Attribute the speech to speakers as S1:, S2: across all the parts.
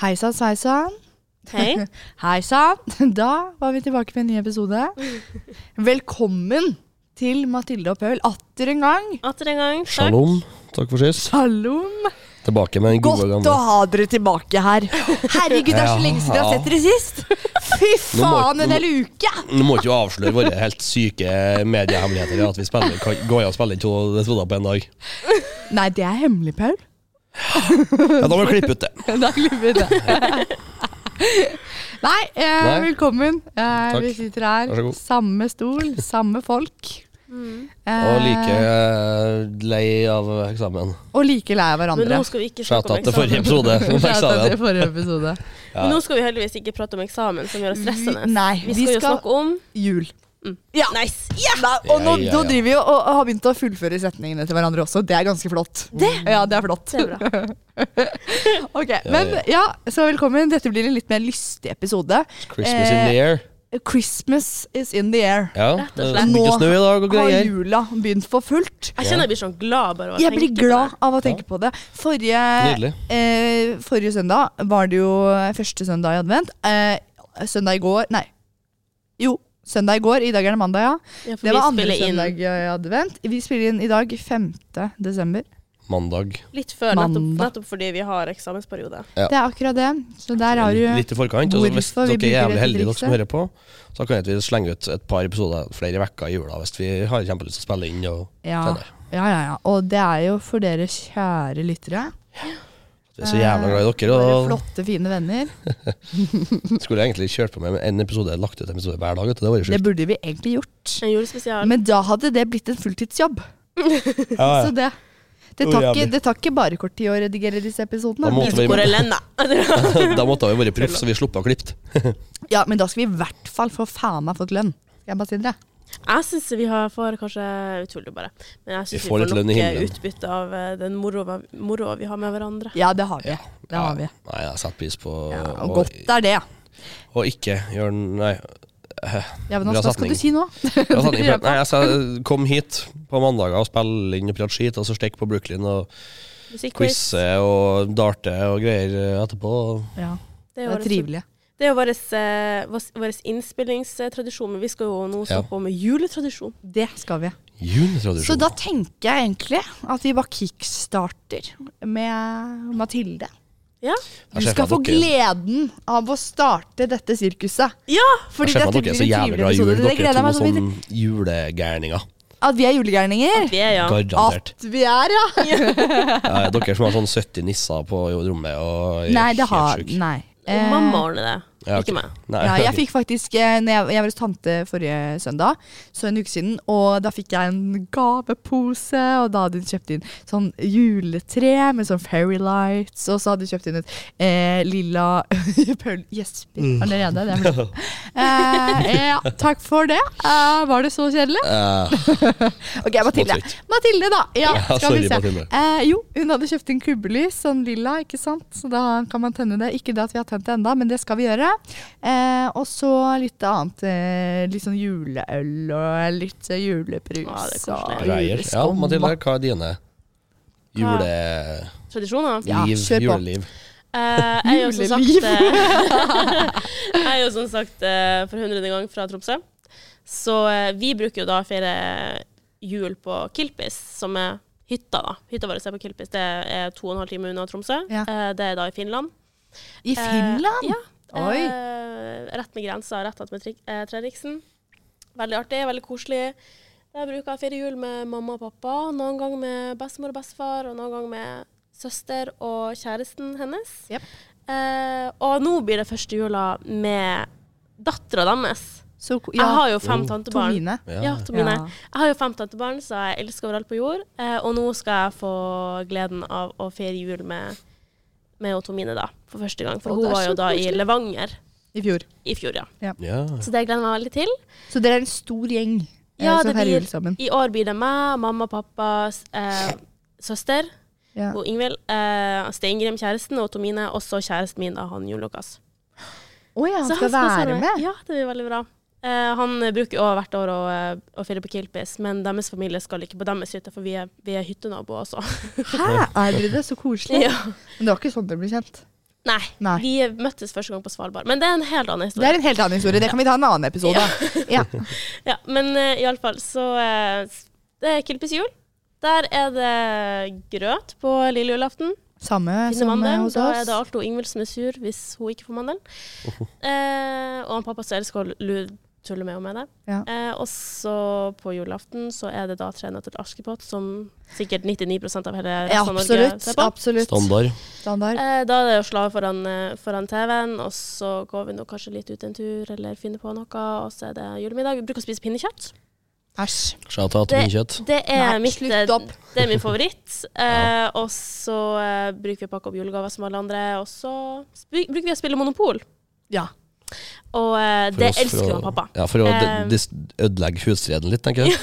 S1: Hei sann, sveisann.
S2: Hei.
S1: Hei sann. Da var vi tilbake med en ny episode. Velkommen til Mathilde og Paul atter en gang.
S2: Atter en gang. Takk.
S3: Shalom. Takk for sist.
S1: Shalom.
S3: Tilbake med den
S1: Godt
S3: gode
S1: å
S3: gamle.
S1: ha dere tilbake her. Herregud, det er så
S3: Ja,
S1: lenge siden vi har
S3: ja.
S1: sett dere sist. Fy
S3: Nå må-
S1: faen, en hel uke.
S3: Nå må ikke du avsløre våre helt syke mediehemmeligheter at vi spiller, kan, går og spiller inn to episoder på en dag.
S1: Nei, det er hemmelig, Paul.
S3: Ja, Da må vi klippe ut det.
S1: Da klipper vi det. Nei, eh,
S3: Nei.
S1: velkommen. Eh,
S3: Takk.
S1: Vi sitter her.
S3: Vær så god.
S1: Samme stol, samme folk.
S2: Mm.
S1: Eh,
S3: Og like eh, lei av eksamen.
S1: og like lei av
S2: Men
S1: hverandre.
S2: nå skal vi ikke snakke
S3: Skjata
S2: om
S3: til forrige
S2: eksamen.
S3: episode om
S1: Shout out til
S3: eksamen.
S1: forrige episode.
S2: Men nå skal vi heldigvis ikke prate om eksamen, som gjør oss stressende.
S1: Vi- nei,
S2: vi
S1: vi
S2: skal, jo
S1: skal-
S2: snakke om Mm.
S1: Jul.
S2: ja. Nice.
S1: Nei, og nå,
S3: Ja, ja,
S1: nå
S3: ja.
S1: driver vi og, og har begynt å fullføre setningene til hverandre også. Det er ganske flott. Det? Ja, det er flott.
S2: Det er bra.
S1: Ok, Men
S3: ja.
S1: ja, så velkommen. Dette blir en litt mer lystig episode.
S3: Christmas in the air.
S1: Christmas is in the air.
S3: Ja,
S2: rett og
S3: det
S2: slett.
S3: ligger snø i dag og
S1: har
S3: greier.
S1: jula begynt for fullt.
S2: Jeg kjenner jeg blir sånn glad bare av å
S1: Jeg blir
S2: tenke
S1: glad
S2: på
S1: av å tenke på det. Forrige,
S3: Nydelig.
S1: eh, forrige søndag var det jo første søndag i advent. Eh, søndag i går Nei. Jo, søndag i går. I dag er det mandag, ja.
S2: det. Ja, for
S1: Det
S2: vi
S1: var andre
S2: spiller inn
S1: søndag i advent. Vi spiller inn i dag 5. desember.
S3: Mandag.
S2: Litt før, nettopp,
S1: Mandag.
S2: nettopp fordi vi har eksamensperiode.
S3: Ja.
S1: Det er akkurat det. Så der har du
S3: Litt i forkant. Og så hvis
S1: hvorfor vi
S3: dere er
S1: bruker dette
S3: jævlig heldige, dere
S1: trikset.
S3: som hører på, så kan vi slenge ut et par episoder flere uker i jula hvis vi har kjempelyst til å spille inn. og
S1: ja,
S3: senere.
S1: ja, ja, ja. Og det er jo for dere kjære lyttere.
S3: Vi er så jævla glad i dere.
S1: Våre
S3: Og
S1: flotte, fine venner.
S3: Skulle jeg egentlig kjørt på med en episode, lagt ut en episode hver dag. Vet du. Det var jo
S1: Det
S3: sjukt.
S1: burde vi egentlig gjort.
S2: En julespesial.
S1: Men da hadde det blitt en fulltidsjobb. Så det det
S3: Å,
S1: tar, ikke,
S3: jævlig.
S1: det tar ikke bare kort tid å redigere disse episodene.
S3: Da måtte
S1: men-
S3: vi-
S2: Hvor er Lenna?
S3: da måtte vi vært proff, så vi sluppet å klippe.
S1: Ja, men da skal vi i hvert fall få faen meg fått lønn. Skal jeg bare si dere?
S2: Jeg syns vi har får kanskje Jeg tuller bare. Men jeg syns
S3: Vi
S2: vi
S3: får
S2: får,
S3: litt lønn i
S2: nok
S3: himmelen.
S2: utbytte av eh, den moroa moroa vi har med hverandre.
S1: Ja, det har vi. Det har vi.
S3: Nei, jeg setter pris på
S1: Ja, og
S3: og,
S1: godt er det.
S3: og ikke gjøre Nei.
S1: Ja, men altså, hva skal
S3: Bra setning.
S1: du si nå?
S3: Jeg satt inn- nei jeg sa, kom hit på mandager og spille inn og prate skit, og så stikke på Brooklyn og
S2: Musikkquiz.
S3: quize og darte og greier etterpå.
S1: Ja,
S2: Det
S1: det
S2: er
S1: er
S2: årets
S1: trivelig.
S2: Det er jo vår, eh, vår- vår innspillingstradisjon, men vi skal jo nå snakke
S3: Ja.
S2: om juletradisjon.
S1: Det skal vi. Så
S3: Juletradisjon.
S1: da tenker jeg egentlig at vi bare kickstarter med Mathilde.
S2: Ja.
S1: Du
S3: Jeg ser
S1: skal få
S3: for meg
S1: gleden av å starte dette sirkuset.
S2: ja!
S1: Fordi
S3: Jeg ser
S1: dette
S3: for
S1: blir
S3: meg
S1: en
S3: dere er så
S1: trivelig
S3: jævlig glad i
S1: episode.
S3: jul.
S1: Det
S3: Dere
S1: gleder jeg
S3: er
S1: meg
S3: to
S1: så mye
S3: sånn julegærninger.
S1: til. At vi er julegærninger?
S2: Vi er, ja.
S3: Garantert.
S1: At vi er, ja!
S3: Ja, ja, dere som har sånn 70 nisser på rommet og er
S1: Nei, det
S3: helt
S1: har
S3: sjuk.
S1: Nei.
S2: Og mamma ordner det,
S3: Ja, ok.
S2: ikke meg.
S3: Nei,
S1: Ja, jeg
S3: ok.
S1: fikk faktisk eh, når jeg, jeg var hos tante forrige søndag, så en uke siden, og da fikk jeg en gavepose, og da hadde hun kjøpt inn sånn juletre med sånn fairy lights, og så hadde hun kjøpt inn et eh, lilla Paul gjesper allerede. Det er flott. eh, ja, takk for det. Eh, var det så kjedelig?
S3: Eh,
S1: Ok, Mathilde.
S3: Småtritt.
S1: Mathilde, da. Ja,
S3: Ja,
S1: skal vi
S3: sorry,
S1: se.
S3: Mathilde.
S1: Eh, jo, hun hadde kjøpt inn kubbelys, sånn lilla, ikke sant. Så da kan man tenne det. Ikke det at vi har tent det enda, men det skal vi gjøre. Eh, og så litt annet. Eh, litt sånn juleøl og litt eh, julebrus.
S2: Ja, det er koselig.
S1: og
S3: Greier. Ja,
S1: juleskum.
S3: Mathilde, hva er dine juleliv?
S2: Tradisjoner.
S1: Ja, kjør på.
S3: juleliv.
S2: Eh, jeg er jo som sagt
S1: Juleliv.
S2: eh, Jeg er jo som sagt eh, for hundrede gang fra Tromsø. Så eh, vi bruker jo da å feire jul på Kilpis, som er hytta, da. Hytta vår er på Kilpis. Det er to og en halv time unna Tromsø.
S1: Ja.
S2: Eh, det er da i Finland.
S1: I Finland?
S2: Eh, ja.
S1: Oi.
S2: Eh, rett med grensa, rett attmed Trik- eh, Treriksen. Veldig artig, veldig koselig. Jeg bruker å feire jul med mamma og pappa, noen gang med bestemor og bestefar, og noen gang med søster og kjæresten hennes.
S1: Jep.
S2: Eh, og nå blir det første jula med dattera deres.
S1: Så, ko-
S2: Jeg
S1: ja, Oh,
S2: har jo fem tantebarn.
S1: Tomine.
S2: Ja,
S3: Ja.
S2: Tomine.
S1: Ja.
S2: Jeg har jo fem tantebarn, så jeg elsker overalt på jord. Eh, og nå skal jeg få gleden av å feire jul med, med og Tomine, da, for første gang.
S1: Å,
S2: For
S1: det
S2: hun
S1: er
S2: var
S1: så
S2: jo da i
S1: koselig.
S2: Levanger
S1: I fjor.
S2: i fjor, ja.
S3: Ja.
S2: Så det gleder jeg meg veldig til.
S1: Så dere er en stor gjeng eh,
S2: Ja,
S1: som
S2: det
S1: feirer
S2: blir-
S1: jul sammen.
S2: I år blir det meg, mamma, pappa, s- eh, søster
S1: Ja.
S2: og Ingvild, eh, Steingrim, kjæresten, og Tomine, og så kjæresten min, da, han Jon Lukas.
S1: Å ja, han
S2: Så
S1: skal være med?
S2: Ja, det blir veldig bra. Eh, han bruker jo hvert år å, eh, å feire på Kilpis, men deres familie skal ikke på deres hytte, for vi er, vi er hyttenaboer også.
S1: Hæ, er dere det? Så koselig.
S2: ja.
S1: Men det var ikke sånn dere ble kjent.
S2: Nei,
S1: Nei.
S2: vi møttes første gang på Svalbard. Men det er en helt annen
S1: Det
S2: historie.
S1: er en helt annen historie. Det kan vi ta en annen episode. Ja.
S2: Ja, men uh, iallfall så eh, s- Det er Kilpis jul. Der er det grøt på lille julaften.
S1: Samme
S2: Finner
S1: som eh,
S2: mandelen.
S1: hos
S2: Da er det
S1: oss.
S2: Alto Ingvild som er sur hvis hun ikke får mandelen. Eh, og han pappa som elsker å lu- tulle med henne med det.
S1: Ja.
S2: Eh, og så på julaften så er det da 'Tre nøtter til Askepott', som sikkert 99 av hele resten
S1: Ja,
S2: av Norge
S1: absolutt.
S2: Sånn ser på.
S1: absolutt.
S3: Standard.
S1: Standard.
S2: Eh, da er det å slå av foran, eh, foran TV-en, og så går vi nå kanskje litt ut en tur eller finner på noe, og så er det julemiddag. Vi bruker å spise pinnekjøtt.
S1: Æsj.
S3: Shout-out til pinnekjøtt.
S2: Det er,
S1: Nei,
S2: Eh, mitt, eh,
S1: slutt opp.
S2: det er min favoritt. Eh, og så eh, bruker vi å pakke opp julegaver som alle andre, og så sp bruker vi å spille Monopol.
S1: Ja.
S2: Og eh,
S3: For
S2: det
S3: oss-
S2: elsker
S3: for
S2: jo
S3: å-
S2: han pappa.
S3: Ja, for å
S2: Eh,
S3: de- dis- ødelegge husfreden litt, tenker jeg.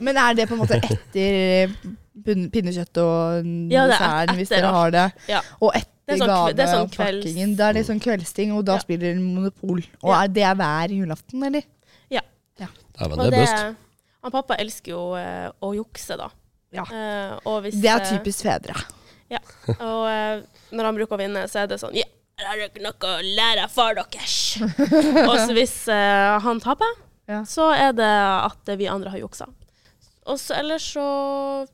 S1: Men er det på en måte etter pin- pinnekjøtt og
S2: Ja, det er
S1: desserten, hvis
S2: etter
S1: dere har det?
S2: Ja.
S1: Og etter
S2: Det er sånn kve- det er sånn kvelds-
S1: gaveopppakkingen. Det er litt sånn kveldsting, og da
S2: Ja.
S1: spiller den Monopol. Og
S2: Ja.
S1: er det er hver julaften, eller?
S3: Dæven,
S2: Og
S3: det er
S2: det,
S3: bust.
S2: han pappa elsker jo eh, å jukse, da.
S1: Ja.
S2: Eh, og hvis,
S1: Det er
S2: eh,
S1: typisk fedre.
S2: Og eh, når han bruker å vinne, så er det sånn Ja, her har dere noe å lære av far deres. og så hvis eh, han taper,
S1: Ja.
S2: så er det at vi andre har juksa. Og så ellers så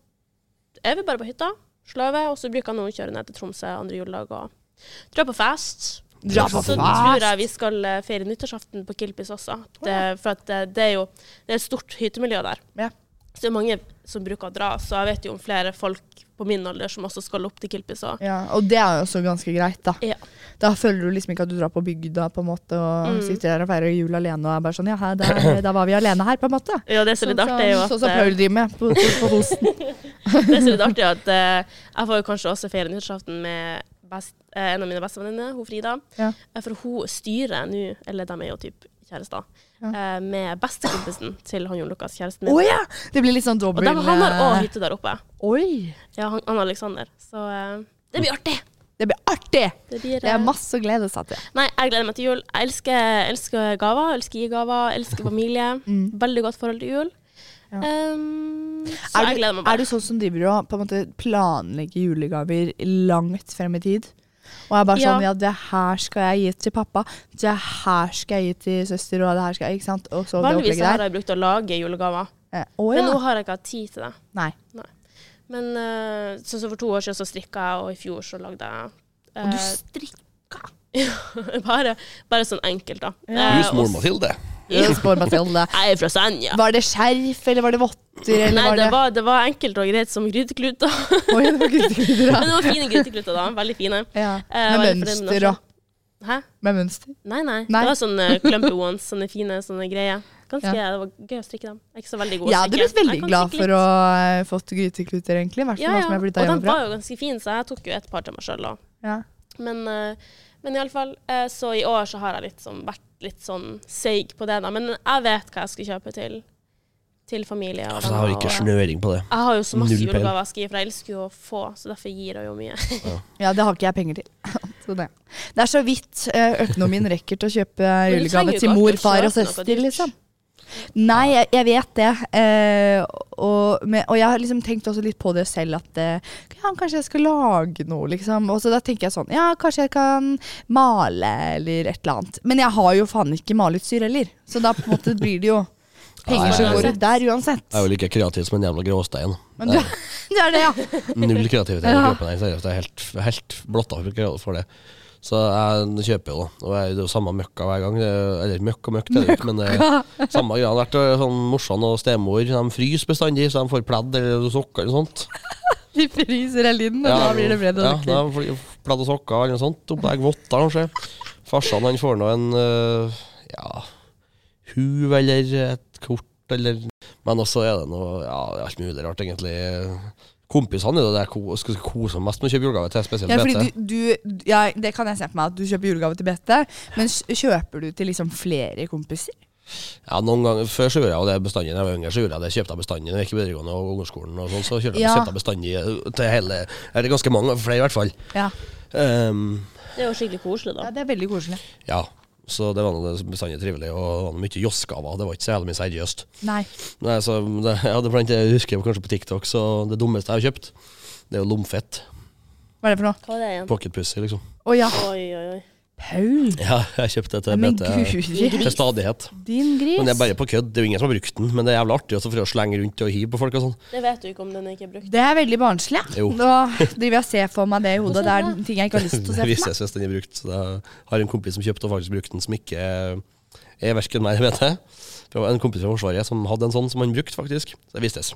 S2: er vi bare på hytta, sløve, og så bruker han noen kjøre ned til Tromsø andre juledag og dra på fest.
S1: Dra på
S2: Og så tror jeg
S1: fest!
S2: vi skal eh, feire nyttårsaften på Kilpis også. Det, for at eh, det er jo det er et stort hyttemiljø der.
S1: Ja.
S2: Så det er mange som bruker å dra, så jeg vet jo om flere folk på min alder som også skal opp til Kilpis. Og,
S1: Ja, og det er jo også ganske greit, da.
S2: Ja.
S1: Da føler du liksom ikke at du drar på bygda på en måte
S2: Mm.
S1: og sitter der og feirer jul alene og er bare sånn Ja, her, der, da var vi alene her, på en måte.
S2: Ja, det som er litt artig, er jo at, eh,
S1: Sånn som Paul driver med på, på, på Fosen.
S2: det som er litt artig er at eh, jeg får jo kanskje også feire nyttårsaften med best, eh, en av mine bestevenninner, hun Frida.
S1: Ja.
S2: Eh, For hun styrer nå, eller de er jo typ kjærester,
S1: Ja.
S2: eh, med bestekompisen til han Jon Lukas, kjæresten
S1: Å
S2: min.
S1: ja! Det blir litt sånn
S2: Og
S1: dobbel
S2: der, han har òg
S1: eh,
S2: hytte der oppe.
S1: Oi!
S2: Ja, han, han Alexander. Så eh, det blir artig!
S1: Det blir artig!
S2: Det, blir,
S1: Det er
S2: eh,
S1: masse å glede seg til.
S2: Nei, jeg gleder meg til jul. Jeg elsker, elsker gaver, elsker å gi gaver, elsker familie. Veldig godt forhold til jul.
S1: Mm. Ja.
S2: Um, så
S1: Er
S2: jeg
S1: du,
S2: gleder meg
S1: er
S2: bare.
S1: du sånn som driver og på en måte planlegger julegaver langt frem i tid? Og er bare
S2: Ja.
S1: sånn ja, det her skal jeg gi til pappa, det her skal jeg gi til søster, og det her skal jeg Ikke sant? Og så det
S2: Vanligvis
S1: opplegget
S2: har
S1: der.
S2: jeg brukt å lage julegaver,
S1: Eh, Å
S2: men nå
S1: ja.
S2: har jeg ikke hatt tid til det.
S1: Nei.
S2: Men eh, sånn som for to år siden så strikka jeg, og i fjor så lagde jeg eh,
S1: Og du strikka?
S2: bare, bare sånn enkelt, da. Eh,
S3: Husmor
S2: og-
S3: Mathilde.
S1: Yes, Bård Mathilde.
S2: Jeg er fra Senja.
S1: Var det skjerf, eller var det votter, eller
S2: Nei,
S1: var
S2: det
S1: det
S2: var, det var enkelt og greit som grytekluter.
S1: Oi, det var grytekluter,
S2: men
S1: ja.
S2: det var fine grytekluter, da. Veldig fine.
S1: ja.
S2: Eh,
S1: Med
S2: veldig fornøyd med
S1: mønster
S2: det.
S1: og
S2: Hæ?
S1: Med mønster.
S2: Nei, nei.
S1: Nei.
S2: Det var sånne clumpy ones, sånne fine sånne greier. Ganske, Det var gøy å strikke dem. Jeg er ikke så veldig god
S1: Jeg
S2: å
S1: hadde
S2: strikke.
S1: blitt veldig
S2: Jeg kan
S1: glad
S2: strikke
S1: for
S2: litt.
S1: å eh, fått grytekluter, egentlig. I hvert fall
S2: ja,
S1: nå
S2: ja.
S1: som jeg har
S2: Og
S1: flytta
S2: de
S1: hjemmefra.
S2: var jo ganske fine, så jeg tok jo et par til meg sjøl.
S1: Ja.
S2: Men, eh, men iallfall, eh, så i år så har jeg litt sånn, vært litt sånn seig på det, da. Men jeg vet hva jeg skal kjøpe til, til familie. og
S3: Altså, jeg har
S2: venner,
S3: ikke
S2: og-
S3: snøring på det.
S2: Jeg har jo så masse
S3: Null peil.
S2: julegaver jeg skal gi, for jeg elsker jo å få, så derfor gir jeg jo mye.
S1: ja, det har ikke jeg penger til. Så det. det er så vidt eh, økonomien rekker til å kjøpe eh,
S2: Men du trenger
S1: julegave
S2: jo
S1: til
S2: ikke
S1: mor,
S2: alltid å
S1: far og
S2: kjøpe noe
S1: søster,
S2: dyrt.
S1: liksom. Nei, jeg, jeg vet det. eh, og, men- og jeg har liksom tenkt også litt på det selv, at eh, ja, kanskje jeg skal lage noe, liksom. Og så da tenker jeg sånn, ja, kanskje jeg kan male eller et eller annet. Men jeg har jo faen ikke maleutstyr heller, så da på en måte blir det jo penger som
S3: Nei.
S1: går ut der uansett.
S3: Jeg er jo like kreativ som en jævla gråstein.
S1: Men du, du er det, ja.
S3: Null kreativitet i
S1: Ja.
S3: kroppen her, seriøst. Jeg er helt, helt blotta for kre- for det. Så jeg kjøper jo, da. Og jeg- det er jo samme møkka hver gang. Det er- Eller møkk og møkk, det er det ikke, men det er samme greia. Det har vært øh, sånn morsan og stemor, de fryser bestandig, så de får pledd eller sokker eller noe sånt.
S1: De fryser hele tiden, og da blir det bredd og
S3: ja,
S1: lykkelig.
S3: da blir det pledd og sokker eller noe sånt. Opplegg votter, kanskje. Farsan han får nå en øh, ja, huv eller et kort eller Men også er det noe ja, det er alt mulig rart, egentlig. Kompisene er jo det jeg ko- skal kose meg mest med å kjøpe julegave til, spesielt
S1: Ja, fordi
S3: BT.
S1: du, du, ja, det kan jeg se på meg, at du kjøper julegave til BT, men s- kjøper du til liksom flere kompiser?
S3: Ja, noen ganger Før så gjorde jeg jo det bestandig da jeg var yngre. Så gjorde jeg det kjøpte jeg bestandig når jeg gikk i videregående og ungdomsskolen. og sånn, Så kjøpte jeg
S1: Ja.
S3: kjøpte jeg bestandig øh, til hele Eller ganske mange, flere i hvert fall.
S1: Ja.
S3: Ehm,
S2: Det er jo skikkelig koselig, da.
S1: det er veldig koselig.
S3: ja. Så det var noe bestandig trivelig, og det var noe mye jossgaver. Det var ikke så jævlig mye seriøst.
S1: Nei.
S3: Nei, så det, ja, det er blant det jeg husker kanskje på TikTok, så det dummeste jeg har kjøpt, det er jo lomfett.
S1: Hva er det for noe?
S2: Hva var det igjen?
S3: Pocketpussy, liksom.
S1: Å ja,
S2: Oi, oi, oi.
S1: Paul.
S3: Ja, jeg kjøpte det til
S1: Men
S3: BT
S1: guri,
S3: til stadighet.
S1: din gris.
S3: Men det er bare på kødd. Det er jo ingen som har brukt den, men det er jævlig artig også for å slenge rundt og hive på folk og sånn.
S2: Det vet du ikke om den ikke er brukt.
S1: Det er veldig barnslig. ja.
S3: Jo.
S1: Nå driver jeg og ser for meg det i hodet. Det er ting jeg ikke har lyst til å se
S3: Det
S1: for meg.
S3: vises hvis den er brukt. Så jeg har en kompis som kjøpte og faktisk brukte den, som ikke er verken meg eller BT. Det var En kompis fra Forsvaret som hadde en sånn som han brukte, faktisk. Så det vistes.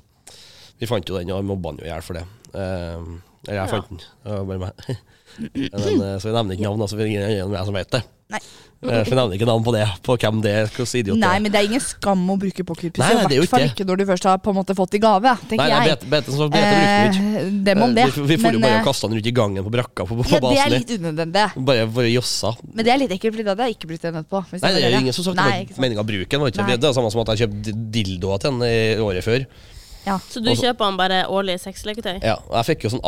S3: Vi fant jo den, og mobba han jo i hjel for det. Eh, Eller
S2: Ja.
S3: jeg fant den. Det var bare meg. Men, eh, så jeg nevner ikke navn, altså, for det er ingen andre enn meg som vet det.
S1: Nei.
S3: Eh, Så jeg nevner ikke navn på det, på hvem det er, hvilken idiot det
S1: Nei,
S3: er.
S1: men det er ingen skam å bruke pocketpussy.
S3: Nei, nei,
S1: I
S3: det er jo
S1: hvert fall
S3: ikke
S1: ikke når du først har på en måte fått i gave, tenker
S3: Nei, nei,
S1: jeg.
S3: BT, BT, som sagt, BT brukte den ikke.
S1: Eh, dem om det.
S3: Vi, vi får jo
S1: Men,
S3: bare
S1: eh,
S3: og kaste den rundt i gangen på brakka på, på,
S1: ja, det er
S3: basen.
S1: litt unødvendig.
S3: Bare for å jossa.
S1: Men det er litt ekkelt, for det hadde jeg ikke brukt den etterpå. hvis
S3: Nei, det er
S1: var
S3: jo
S1: dere.
S3: ingen som sagt
S1: Nei,
S3: det
S1: ikke
S3: var
S1: sant.
S3: meninga å bruke den. var ikke
S1: Nei.
S3: Det Det er det samme som at jeg kjøpte dildoer til den i året før.
S2: Så du
S3: Altså-
S2: kjøper den bare årlig sexleketøy?
S3: Ja, og Jeg fikk jo sånn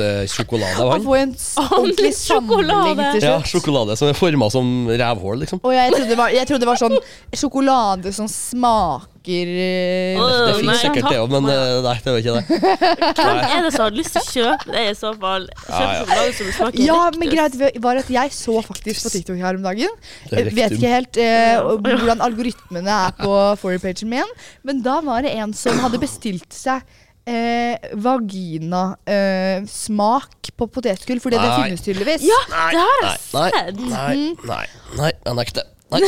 S3: anussjokolade av
S1: Man
S3: han.
S1: får jo en s- ordentlig
S2: sjokolade.
S1: samling til
S3: Ja,
S1: slutt.
S3: Sjokolade som er forma som revhål, liksom.
S1: Og jeg trodde, det var, jeg trodde det var sånn sjokolade som smaker eh,
S2: Åh,
S3: Det
S2: nei,
S3: finnes sikkert
S2: takk.
S3: det òg, men eh, nei, det var ikke det.
S2: Hvem er det som har lyst til å kjøpe det i så fall? Kjøpe
S3: Ja, ja.
S2: så mange som smaker
S1: Ja,
S2: riktig.
S1: men greit var at jeg så faktisk på TikTok her om dagen.
S3: Det er
S1: Jeg vet
S3: rektum.
S1: ikke helt eh, hvordan algoritmene er på forepagen min, men da var det en som hadde bestilt seg eh, vaginasmak på potetgull, fordi det
S3: Nei.
S1: finnes tydeligvis.
S2: Ja, det har jeg
S3: Nei,
S2: sett.
S3: nei,
S1: Mhm.
S3: nei, nei, jeg nekter. Nei,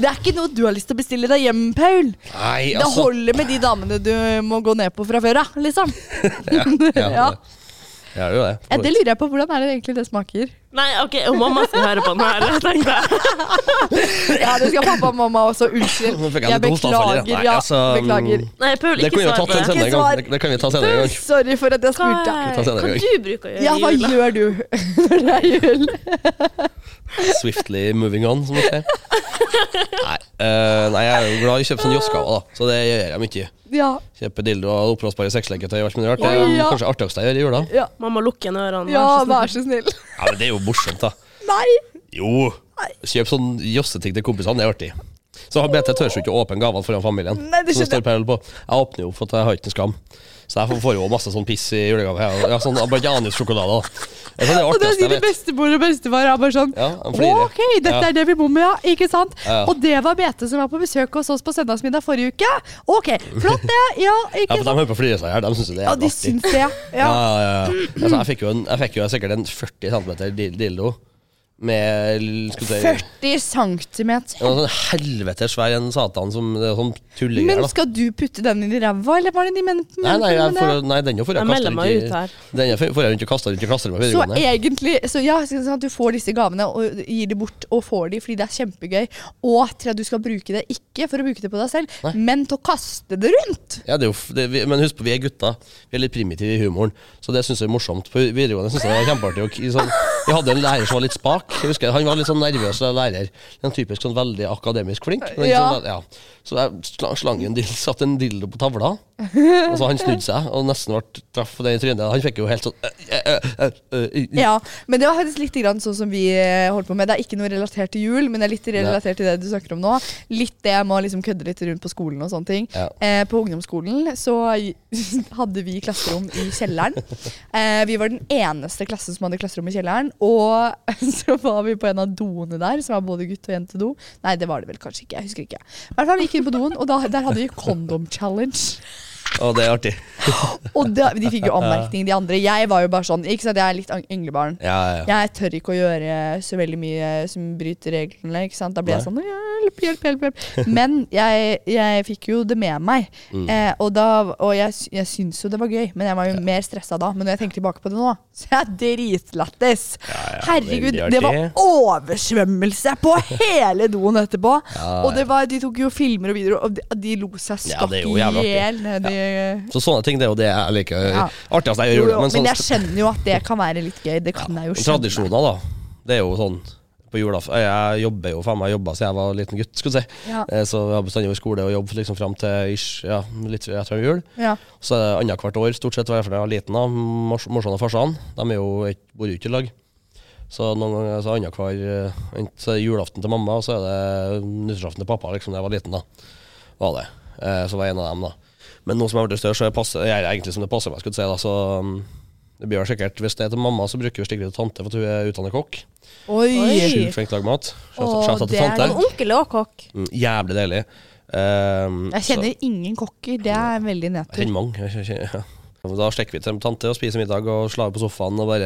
S1: Det er ikke noe du har lyst til å bestille deg hjem, Paul.
S3: nei
S1: Det
S3: altså.
S1: holder med de damene du må gå ned på fra før av, liksom.
S3: Ja,
S1: Ja.
S3: det- det er jo det.
S1: Ja, det lurer jeg på. Hvordan er det egentlig det smaker?
S2: Nei, ok, og mamma skal høre på den her, tenkte jeg.
S1: Ja, det skal pappa og mamma også. Unnskyld.
S3: Nå fikk jeg
S1: Jeg
S3: litt hosteanfall i
S1: beklager.
S3: det. Nei,
S1: Ja,
S3: altså,
S1: beklager.
S2: Nei, Paul,
S3: Det
S2: ikke
S3: kunne vi ha
S2: svar
S3: tatt
S2: på
S3: en
S2: det.
S3: senere
S1: Ikke svar.
S3: gang. Det- Det kan vi ta senere gang.
S1: Sorry for at jeg
S2: Hva
S1: spurte.
S3: Vi tar senere
S2: hva
S3: gang.
S2: du bruker å gjøre
S1: Ja,
S2: i
S1: hva
S2: jula?
S1: gjør du når det er jul?
S3: Swiftly moving on, som det heter. Nei, eh, nei, jeg er jo glad i å kjøpe sånne jossgaver, da. Så det gjør jeg mye.
S1: Ja,
S3: Kjøpe dildo og oppblåsbare sexleketøy og alt mulig rart. Det er
S1: Oi,
S3: jo
S1: ja.
S3: kanskje artigste jeg gjør i jula.
S1: ja,
S2: Mamma, lukk igjen ørene.
S1: ja,
S2: vær så snill.
S1: vær så snill.
S3: Ja, men det er jo morsomt, da.
S1: Nei!
S3: Jo. Kjøp sånn josseting til kompisene, det er artig. Så har BT tør jo ikke å åpne gavene foran familien.
S1: Nei, det
S3: som det
S1: skjønner
S3: står Perl på. Jeg åpner jo for at jeg har ikke noe skam. Så jeg får- får jo masse sånn piss i julegave. her. Ja, sånn, Blant annet sjokolade. da. Jeg synes det er
S1: Og da
S3: artigst, jeg
S1: sier
S3: vet.
S1: bestemor og bestefar er bare sånn
S3: Ja, han flirer.
S1: Ok, dette
S3: Ja.
S1: er det vi bor med, ja. Ikke sant?
S3: Ja.
S1: Og det var Bete som var på besøk hos oss på søndagsmiddag forrige uke. Ok, flott det. Ja,
S3: Ja,
S1: ikke
S3: for
S1: sant?
S3: De hører på å flire seg i hjel. De syns det er
S1: Ja,
S3: jævlig
S1: de
S3: artig.
S1: syns det.
S3: Ja,
S1: Ja.
S3: ja, ja. Altså, jeg fikk jo, en, jeg fikk jo sikkert en 40 cm dildo med l- skal vi si,
S1: 40 centimeter.
S3: Det var sånn helvete svær en satan som det er sånn tullegreier.
S1: Men
S3: da.
S1: skal du putte den inn i ræva, eller var det de mente
S3: Nei, nei, jeg
S1: med
S3: får,
S1: det?
S3: nei, den jo får jeg
S2: Jeg
S3: kaste
S2: melder meg ut
S3: rundt i
S2: her.
S3: Den jo får jeg rundt og kaste rundt i klasserommet på
S1: Så
S3: videregående.
S1: egentlig så ja, så sånn at Du får disse gavene og gir det bort og får de fordi det er kjempegøy. Og til at du skal bruke det ikke for å bruke det på deg selv,
S3: Nei.
S1: men til å kaste det rundt.
S3: Ja, det er jo, f- det, vi, men husk på, vi er gutter. Vi er litt primitive i humoren, så det syns jeg er morsomt. På videregående synes jeg det var kjempeartig. å k- sånn, vi hadde en lærer som var litt spak. Jeg husker, han var litt sånn nervøs som lærer. En typisk sånn veldig akademisk flink. Men,
S1: Ja.
S3: sånn, ja. Så jeg sla- slang en dild, satt en dildo på tavla, og så han snudde seg og nesten ble traff den i trynet. Han fikk jo helt sånn øh, øh, øh, øh, øh.
S1: Ja, Men det var faktisk litt grann sånn som vi eh, holdt på med. Det er ikke noe relatert til jul, men det er litt relatert til det du snakker om nå. Litt det med å liksom kødde litt rundt på skolen og sånne ting.
S3: Ja.
S1: Eh, på ungdomsskolen så hadde vi klasserom i kjelleren. Eh, vi var den eneste klassen som hadde klasserom i kjelleren. Og så var vi på en av doene der, som var både gutt- og jentedo. Nei, det var det vel kanskje ikke. jeg husker ikke. I hvert fall vi gikk inn på doen, og da, der hadde vi kondom challenge.
S3: Å, det er artig.
S1: Og da, de fikk jo anmerkning, de andre. Jeg var jo bare sånn, ikke sant, jeg er litt ang- englebarn.
S3: Ja, ja, ja.
S1: Jeg tør ikke å gjøre så veldig mye som bryter reglene. ikke sant? Da blir jeg sånn Hjelp, hjelp, hjelp. hjelp. Men jeg, jeg fikk jo det med meg.
S3: Mm.
S1: Eh, og da, og jeg, sy- jeg syns jo det var gøy, men jeg var jo mer stressa da. Men når jeg tenker tilbake på det nå, så er jeg dritlættis. Herregud,
S3: veldig
S1: det var
S3: artig.
S1: oversvømmelse på hele doen etterpå. Og det var, de tok jo filmer og videoer, og de, de lo seg
S3: Ja,
S1: skakk
S3: det
S1: i
S3: er jo jævlig artig.
S1: hjel. nedi-
S3: Så sånne ting, det er jo det jeg liker.
S1: Ja.
S3: Artigst jeg
S1: Jo,
S3: gjør.
S1: jo,
S3: Men
S1: men
S3: sånn
S1: jeg skjønner jo at det kan være litt gøy. Det kan jeg jo skjønne.
S3: Tradisjoner, da. Det er jo sånn på julaf Jeg jobber jo faen meg jobba siden jeg var liten gutt, skulle jeg si.
S1: Ja.
S3: Eh, Så jeg har bestandig vært skole og jobb liksom fram til ish, ja, litt etter jul.
S1: Ja.
S3: Så er det annethvert år, stort sett, i hvert fall da jeg var liten. da Mors- Morsan og farsan De er jo et- bor jo ikke i lag. Så noen ganger så annenhver Så er det julaften til mamma, og så er det nyttårsaften til pappa, liksom da jeg var liten. da Var det Eh, Så var jeg en av dem, da. Men nå som jeg har blitt større, så jeg passer, jeg er egentlig som det passer meg, skulle jeg si. da Så mm, Det blir vel sikkert, Hvis det er til mamma, så bruker vi sikkert til tante, for at hun er utdannet kokk.
S1: Oi!
S2: Oi.
S3: Sjukt flink til å lage mat. Shout-
S1: Åh,
S3: shout out
S1: det
S3: til
S1: er
S3: tante.
S1: noe.
S4: Onkel er også kokk.
S3: Mm, jævlig deilig. Ehm,
S1: Jeg
S3: så-
S1: kjenner ingen kokker. Det er veldig
S3: Jeg
S1: nedtur.
S3: kjenner mange. Jeg kjenner, ja. Men Da stikker vi til tante og spiser middag og slår på sofaen og bare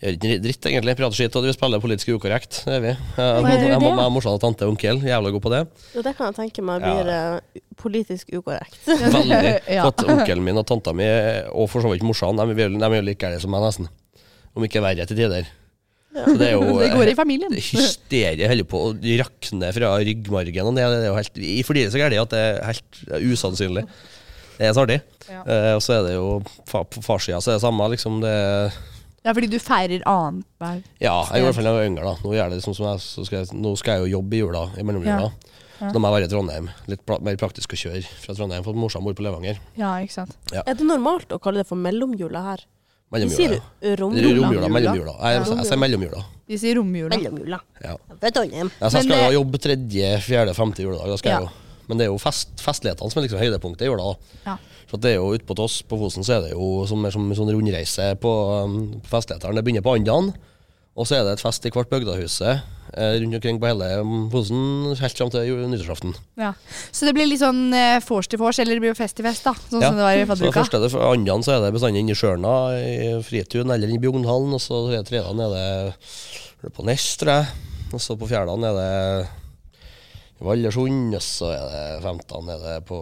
S3: gjør ikke en dritt, egentlig. Prater skitt og vi spiller politisk ukorrekt. Det gjør vi. Jeg,
S4: Hva gjør
S3: jeg,
S4: du det?
S3: mamma er morsan og tante og onkel. Jævla god på det.
S2: Jo, det kan jeg tenke meg
S3: Ja.
S2: blir eh, politisk ukorrekt.
S3: Veldig.
S1: Ja.
S3: For at onkelen min og tanta mi, og for så vidt morsan, de, er jo- de er jo like gærne som meg, nesten. Om ikke verre til tider. Så det er jo
S1: Det går i familien.
S3: Hysteriet holder på å rakne fra ryggmargen og ned. Det er jo helt, I fordyret så gærent at det er helt usannsynlig. Det er så artig.
S1: Ja.
S3: Eh, og så er det jo fa på farssida så er det samme, liksom. Det,
S1: Det er fordi du feirer annenhver
S3: ja, jeg gjorde i hvert fall da jeg var yngre, da. Nå, gjør jeg det liksom som jeg, så skal jeg, nå skal jeg jo jobbe i jula, i mellomjula.
S1: Ja.
S3: Så da må jeg være i Trondheim. Litt pla- mer praktisk å kjøre fra Trondheim, for at morsan bor på Levanger.
S1: Ja, ikke sant.
S2: Er det normalt å kalle det for mellomjula her? Vi sier
S3: Mellomjula.
S2: romjula.
S3: Romjula, mellomjula. Jeg, jeg, jeg sier mellomjula.
S1: De sier romjula.
S2: Mellomjula.
S3: Ja.
S2: Ved Trondheim.
S3: Ja, så jeg
S1: Men
S3: skal
S1: det-
S3: jo jobbe tredje, fjerde, femte juledag. Da skal
S1: Ja.
S3: jeg jo. Men det er jo fest, festlighetene som er liksom høydepunktet i jula. da.
S1: Ja.
S3: Så at det er jo Utpå til oss på Fosen så er det jo som, mer som en sånn rundreise på, um, på festlighetene. Det begynner på Andan, og så er det et fest i hvert bygdahuset eh, rundt omkring på hele um, Fosen helt fram til ju- nyttårsaften.
S1: Ja. Så det blir litt sånn eh, vors til vors, eller det blir jo fest til fest, da. Sånn
S3: Ja.
S1: som det var i
S3: Så det
S1: fadderuka.
S3: første er det fra Andan så er det bestandig inne i Sjørna, i Fritun eller inne i Bjognhallen. Og så tre- tredje er det er det på Nes, tror jeg. Og så på fjerde er det i Vallersund, og så er det femte er det på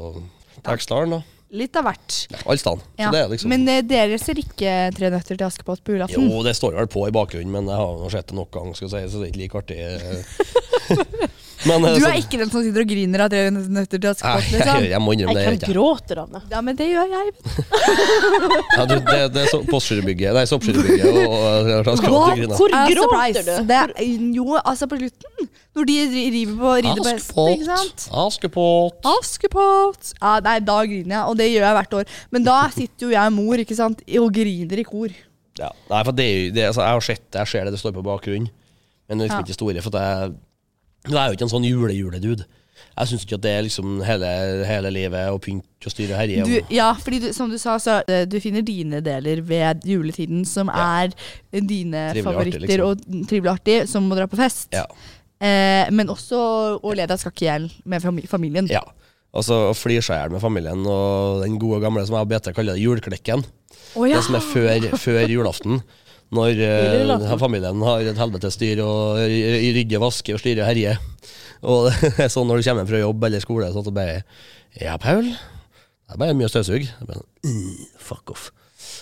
S3: Tekstdalen. da.
S1: Litt av hvert.
S3: Ja, alle steder. Så
S1: Ja.
S3: det er liksom
S1: Men eh, dere ser ikke Tre nøtter til Askepott på julaften?
S3: Jo, det står vel på i bakgrunnen, men jeg har nå sett det nok ganger, skal jeg si, så det er ikke like artig. eh. men, eh,
S1: Du
S3: så-
S1: er ikke den som sitter og griner av Tre nøtter til
S3: Nei,
S1: Askepott,
S3: jeg, jeg,
S1: liksom?
S3: jeg må innrømme
S2: Jeg
S3: det. jeg
S2: kan
S3: gjør ikke.
S2: gråte av det.
S1: Ja, men det gjør jeg.
S3: Ja, du, det, det er så- Postgirobygget Nei, Soppgirobygget og, og, og, og Skrottegrinda.
S2: Hvor
S1: Eh,
S2: gråter
S1: surprise.
S2: du?
S1: Det er, jo, altså på slutten. Når de ri- river på, rider på hesten, ikke sant. Ah.
S3: Askepott.
S1: Askepott! Ja, nei, da griner jeg, og det gjør jeg hvert år. Men da sitter jo jeg og mor ikke sant, og griner i kor.
S3: Ja. Nei, for det, er jo- det, altså, jeg har sett det, jeg ser det, det står på bakgrunnen. Men det er liksom
S1: Ja.
S3: ikke store, for at jeg, jeg er jo ikke en sånn jule-jule-dude. Jeg syns ikke at det er liksom hele, hele livet og pynt og styre og herje.
S1: Du,
S3: og-
S1: ja, fordi du, som du sa, så eh, du finner dine deler ved juletiden som
S3: Ja.
S1: er dine
S3: Trivelig og artig,
S1: favoritter
S3: liksom.
S1: og trivelig og artig, som å dra på fest.
S3: Ja.
S1: Eh, men også å le deg skakk i hjel med fami- familien.
S3: ja. Altså, Og så flir seg i hjel med familien og den gode gamle som jeg og BT kaller det juleklekken.
S1: Å ja.
S3: Det som er før, før julaften. Når eh,
S2: Julaften.
S3: familien har et helvetes styr og ry- rydder, vasker og styrer og herjer. Og det er sånn når du kommer hjem fra jobb eller skole, sånn at du bare Ja, Paul? Det er bare mye støvsug. Det er bare sånn, «Øh, Fuck off.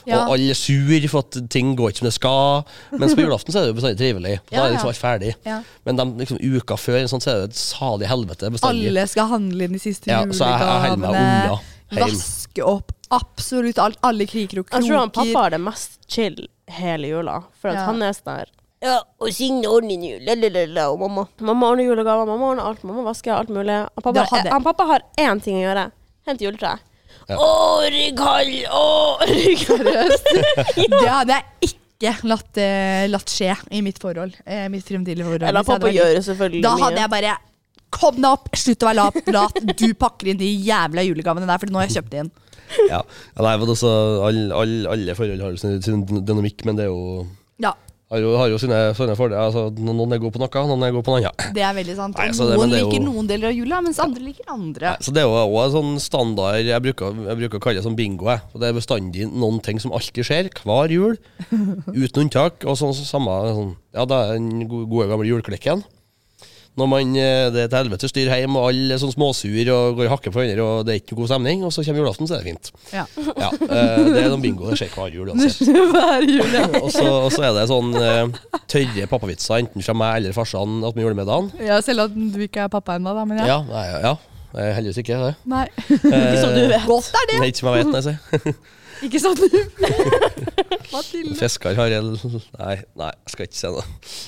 S1: Ja.
S3: Og alle er sur for at ting går ikke som det skal. Mens på julaften så er det jo bestandig trivelig. Da
S1: Ja,
S3: er
S1: ja.
S3: liksom alt ferdig.
S1: Ja.
S3: Men de liksom, uka før sånn, så er det jo et salig helvete bestandig.
S1: Alle skal handle inn de siste
S3: Ja, så jeg- jeg holder meg
S1: julegavene.
S3: unna hjem.
S1: Vaske opp absolutt alt. Alle kriker og
S2: Jeg tror han pappa
S1: kroker.
S2: har det mest chill hele jula, for at
S1: Ja.
S2: han er sånn her ja, og Signe ordner jul, lalalala, og mamma. Mamma ordner julegaver, mamma ordner alt, mamma vasker alt mulig. Han
S1: Da
S2: pappa,
S1: hadde-
S2: han pappa har én ting å gjøre. Hente juletreet. Å, rygghall! Å, rygghall!
S1: Det hadde jeg ikke latt, eh, latt skje i mitt forhold. Eh, mitt fremtidige forhold.
S2: Eller
S1: Hvis jeg
S2: pappa
S1: hadde vært-
S2: gjør selvfølgelig
S1: Da
S2: mye.
S1: hadde jeg bare Kom deg opp, slutt å være lat, lat. Du pakker inn de jævla julegavene der, for nå har jeg kjøpt det inn.
S3: Ja. Ja, nei, men altså, all, all, alle forhold har jo sin, sin dynamikk, men det er jo
S1: Ja,
S3: har jo, har jo sine, sine fordeler. Altså, no- noen er gode på noe, noen er gode på noe annet.
S1: det er veldig sant. Og
S3: Nei, så det- men
S1: noen
S3: det er jo-
S1: liker noen deler av jula, mens andre liker andre.
S3: Så det er jo også en sånn standard jeg bruker, jeg bruker å kalle det sånn bingo. Jeg. Og det er bestandig noen ting som alltid skjer, hver jul, uten unntak. Og sånn så samme sånn, Ja, det er den go- gode gamle juleklekken. Når man, eh, det er et helvete styr hjemme, og alle er sånn småsur og går i hakke på hverandre, og det er ikke noe god stemning, og så kommer julaften, så er det fint.
S1: Ja.
S3: Ja, eh, Det er noen bingo, det skjer hver jul uansett.
S1: Hver jul.
S3: Og så, og så er det sånn eh, tørre pappavitser, enten fra meg eller farsan, at vi gjorde med dagen.
S1: Ja, selv om du ikke er pappa ennå, da. Men ja.
S3: Ja, nei, ja, ja. Eh, Heldigvis ikke det.
S1: Nei.
S2: Ikke som du vet.
S1: Godt er det,
S3: Nei, ikke som jeg vet, nei. si.
S1: ikke sant? Mathilde.
S3: Fiskar har en Nei, nei, jeg skal ikke si noe.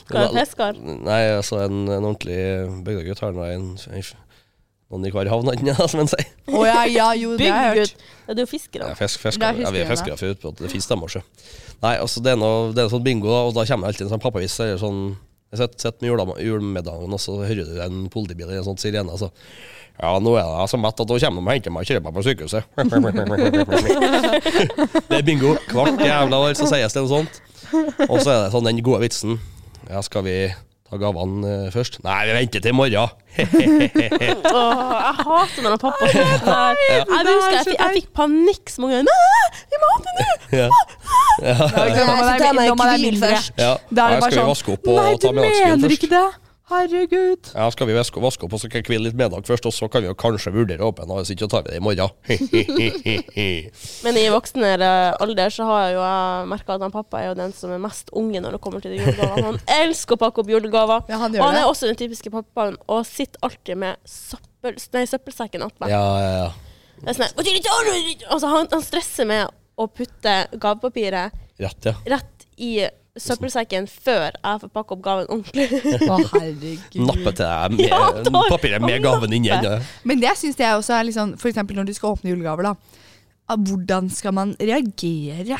S2: Hva er fiskar?
S3: Nei, altså, en, en ordentlig bygdegutt har nå en, en noen i hver havn, han, ja, som en sier.
S1: Å ja, ja, jo, det har jeg hørt.
S2: Bygggutt. Det er jo fiskere.
S3: Ja, fisk,
S1: Det er
S3: fiskere, ja, vi er
S1: fiskerne.
S3: fiskere for utpå at det finnes dem også. Nei, altså, det er noe, det er noe sånn bingo, da, og da kommer det alltid en sånn pappavis, eller sånn, jeg sitter sitter med jula- julemiddagen, og så hører du en politibil eller en sånn sirene, og så, Ja, nå er jeg så mett at hun kommer og henter meg og kjører meg på sykehuset. det er bingo. Hvert jævla år så sies det noe sånt. Og så er det sånn den gode vitsen. Ja, skal vi ta gavene eh, først? Nei, vi venter til i morgen.
S2: Åh, jeg hater når pappa sier det der. Jeg, husker jeg, fikk- jeg fikk panikk så mange ganger. Nei, vi må åpne nå!
S3: Ja.
S1: Nei,
S4: Ja,
S1: så
S4: jeg
S1: da
S4: må
S1: må jeg
S4: hvile
S1: mindre.
S4: først.
S3: Ja.
S1: Da er det
S3: Nei,
S1: bare
S3: skal vi
S1: sånn,
S3: vaske opp og
S1: Nei, du
S3: ta middagsgrillen
S1: mener
S3: først?
S1: ikke det! Herregud.
S3: Ja, skal vi vaske vaske opp og så kan jeg hvile litt middag først, og så kan vi jo kanskje vurdere åpen, og hvis ikke så tar vi det i morgen.
S2: Men i voksen eh, alder så har jeg jo jeg merka at han pappa er jo den som er mest unge når det kommer til julegaver. Han elsker å pakke opp julegaver.
S1: Ja, han gjør
S2: og han
S1: det.
S2: er også den typiske pappaen og sitter alltid med søppel, nei, søppelsekken attmed.
S3: ja, ja, ja.
S2: Det er sånn her, «Å, tydelig, å, tydelig, å». altså, han, han stresser med å putte gavepapiret
S3: Rett, ja.
S2: rett i søppelsekken før jeg får pakke opp gaven ordentlig.
S1: Å, herregud.
S3: Nappe til deg med,
S2: Ja, ta-
S3: papiret med
S2: ta
S3: gaven inni.
S2: nappe.
S3: ja.
S1: Men det syns jeg også er litt sånn, for eksempel når du skal åpne julegaver, da. Ah, Hvordan skal man reagere?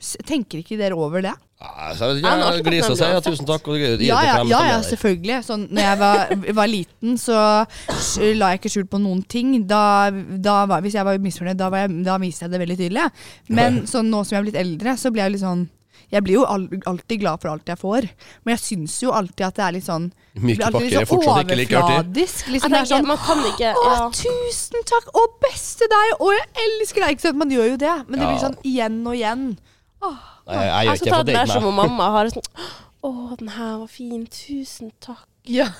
S1: S- Tenker ikke dere over det?
S3: Nei, så jeg vet
S2: Ja, men
S3: ikke,
S2: alt
S3: jeg
S2: kan
S3: gliser og sier ja,
S2: bli
S3: tusen takk. Og gir det
S1: Ja ja, ja,
S3: klem, så
S1: ja
S3: blir det.
S1: selvfølgelig. Sånn, når jeg var, var liten, så s- la jeg ikke skjul på noen ting. Da, da var, hvis jeg var misfornøyd, da, var jeg, da viste jeg det veldig tydelig. Men sånn, nå som jeg er blitt eldre, så blir jeg litt sånn Jeg blir jo al alltid glad for alt jeg får, men jeg syns jo alltid at det er litt sånn det
S3: Myke
S1: blir alltid sånn
S3: pakker er fortsatt ikke like artig.
S1: overfladisk.
S2: Jeg
S1: Liksom, det er
S2: tenker
S1: sånn
S2: at man kan ikke
S1: Å,
S2: ja.
S1: tusen takk! Å, beste deg! Å, jeg elsker deg! Ikke sant? Man gjør jo det, men det blir
S3: Ja.
S1: sånn igjen og igjen.
S3: Nei, jeg, jeg,
S2: Jeg
S3: gjør
S2: skal
S3: ikke
S2: ta
S3: for
S2: det der som
S3: date
S2: om mamma har sånn Å, den her var fin. Tusen takk.
S1: Ja.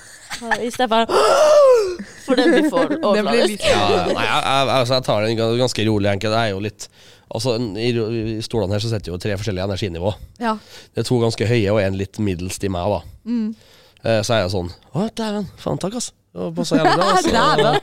S2: I stedet for For den blir for
S1: Det blir
S2: overfladisk.
S1: litt sånn,
S3: Ja, nei, jeg, jeg, altså, jeg tar den gans- ganske rolig, enkelt. Jeg er jo litt Altså, i, I stolene her så sitter jo tre forskjellige energinivå.
S1: ja.
S3: Det er to ganske høye og en litt middels til meg, da. Eh, Så er jeg sånn Å, dæven. Faen, takk, ass. Det var passa jævlig bra. ass.
S1: Dæven.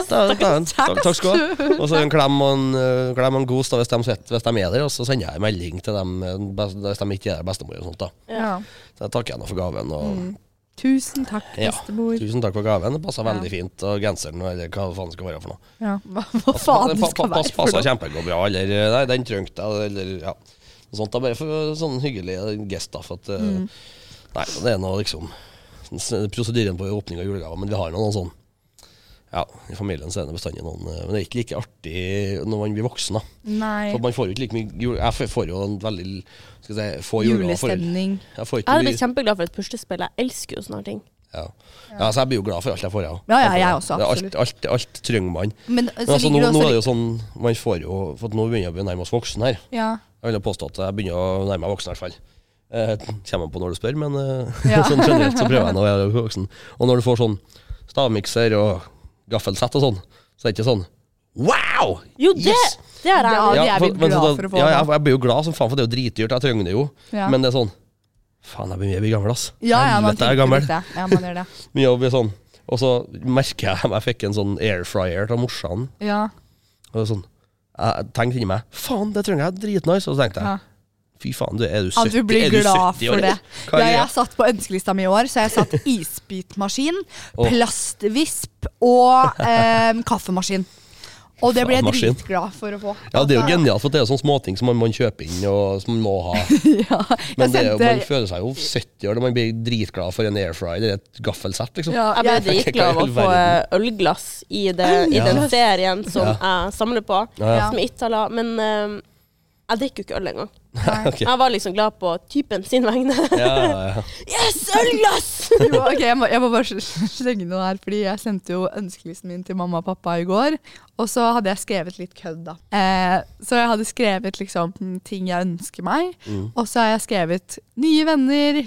S3: Dæven, dæven. Takk, takk skal du ha. Og så en klem og en, eh, klem og en god stad hvis, de sitter- hvis de er der, og så sender jeg en melding til dem eh, best- hvis de ikke er der, bestemor og sånt, da.
S1: Ja.
S3: Så jeg takker henne for gaven. Og,
S1: Mm. Tusen takk,
S3: Ja.
S1: bestemor.
S3: Tusen takk for gaven, det passa
S1: Ja.
S3: veldig fint. Og genseren, eller hva faen det skal være for noe.
S1: Ja. Hva, hva faen det
S3: Pa- pa-
S1: skal
S3: pass-
S1: være for
S3: Passa
S1: noe?
S3: kjempegodt bra, eller eh, nei, den trengte jeg, eller ja. Noe sånt, da, bare for sånn hyggelig gest, da. For at, eh,
S1: Mm.
S3: Nei, det er nå liksom sånn s- prosedyren på åpning av julegaver, men vi har nå noen sånn ja, I familien så er det bestandig noen eh, Men det er ikke like artig når man blir voksen. da
S1: Nei.
S3: For Man får jo ikke like mye jule, Jeg får- får jo en veldig skal jeg si, få julegaver. for-
S1: Julestemning.
S3: Jeg får
S2: Jeg
S3: ikke
S2: hadde blitt
S3: mye
S2: kjempeglad for et puslespill. Jeg elsker jo sånne her ting.
S3: ja. ja, Så jeg blir jo glad for alt jeg får. Ja,
S1: Ja, ja, jeg også,
S3: Det er
S1: absolutt.
S3: Alt, alt, alt trenger man.
S1: Men øh,
S3: Men
S1: så
S3: altså, nå,
S1: ligger det
S3: nå er
S1: også
S3: det jo sånn Man får jo For at nå begynner jeg å nærme oss voksen her.
S1: Ja.
S3: Jeg vil jo påstå at jeg begynner å nærme meg voksen, i hvert fall. Eh, kommer an på når du spør, men eh,
S1: Ja.
S3: sånn generelt så prøver jeg nå å være voksen. Og når du får sånn stavmikser og gaffelsett og sånn, så er det ikke sånn Wow!
S2: Jo, det,
S3: Yes!
S2: det er
S1: Ja,
S2: jeg.
S1: det er vi
S3: men
S1: glad
S3: sånn at-
S1: for å få,
S3: Ja,
S1: da.
S3: jeg, jeg blir jo glad som faen, for det er jo dritdyrt. Jeg trenger det jo.
S1: Ja.
S3: Men det er sånn Faen, jeg blir jeg blir gammel, ass.
S1: Ja, ja, man
S3: Helvete, jeg er
S1: tenker
S3: gammel.
S1: litt det. Ja, man gjør det.
S3: Mye jobb er sånn. Og så merker jeg at jeg fikk en sånn air fryer av morsan.
S1: Ja.
S3: Og det er sånn Jeg tenkte inni meg Faen, det trenger jeg dritnice. Og så tenkte jeg
S1: Ja.
S3: fy faen, du, er du 70,
S1: At du blir
S3: er du
S1: glad
S3: 70 år,
S1: for det.
S3: eller? Hva
S1: Ja,
S3: er greia?
S1: jeg satt på ønskelista mi i år, så jeg satt isbitmaskin,
S3: Åh.
S1: plastvisp og em, kaffemaskin. Og det ble jeg
S3: Faen, maskin.
S1: dritglad for å få. Altså,
S3: ja, det er jo genialt, for det er jo sånne småting som man, man kjøper inn og som man må ha.
S1: Ja, jeg
S3: Men det er, jo-
S1: sendte
S3: man føler seg jo 70 år når man blir dritglad for en air fryer eller et gaffelsett, liksom.
S1: ja,
S2: Jeg ble
S1: jeg,
S2: dritglad av å få eh, ølglass i, det, i den
S3: Ølglass.
S2: serien som
S3: Ja.
S2: jeg samler på,
S3: Ja.
S2: som jeg ikke har la. Men eh, jeg drikker jo ikke øl engang.
S3: Ok.
S2: Jeg var liksom glad på typen sin vegne.
S3: Ja, ja, ja.
S2: Yes, ølglass!
S1: jo, ok, jeg, må, jeg må bare slenge noe her, fordi jeg sendte jo ønskelisten min til mamma og pappa i går. Og så hadde jeg skrevet litt kødd, da. Eh, så jeg hadde skrevet liksom hm, ting jeg ønsker meg. Og så har jeg skrevet nye venner,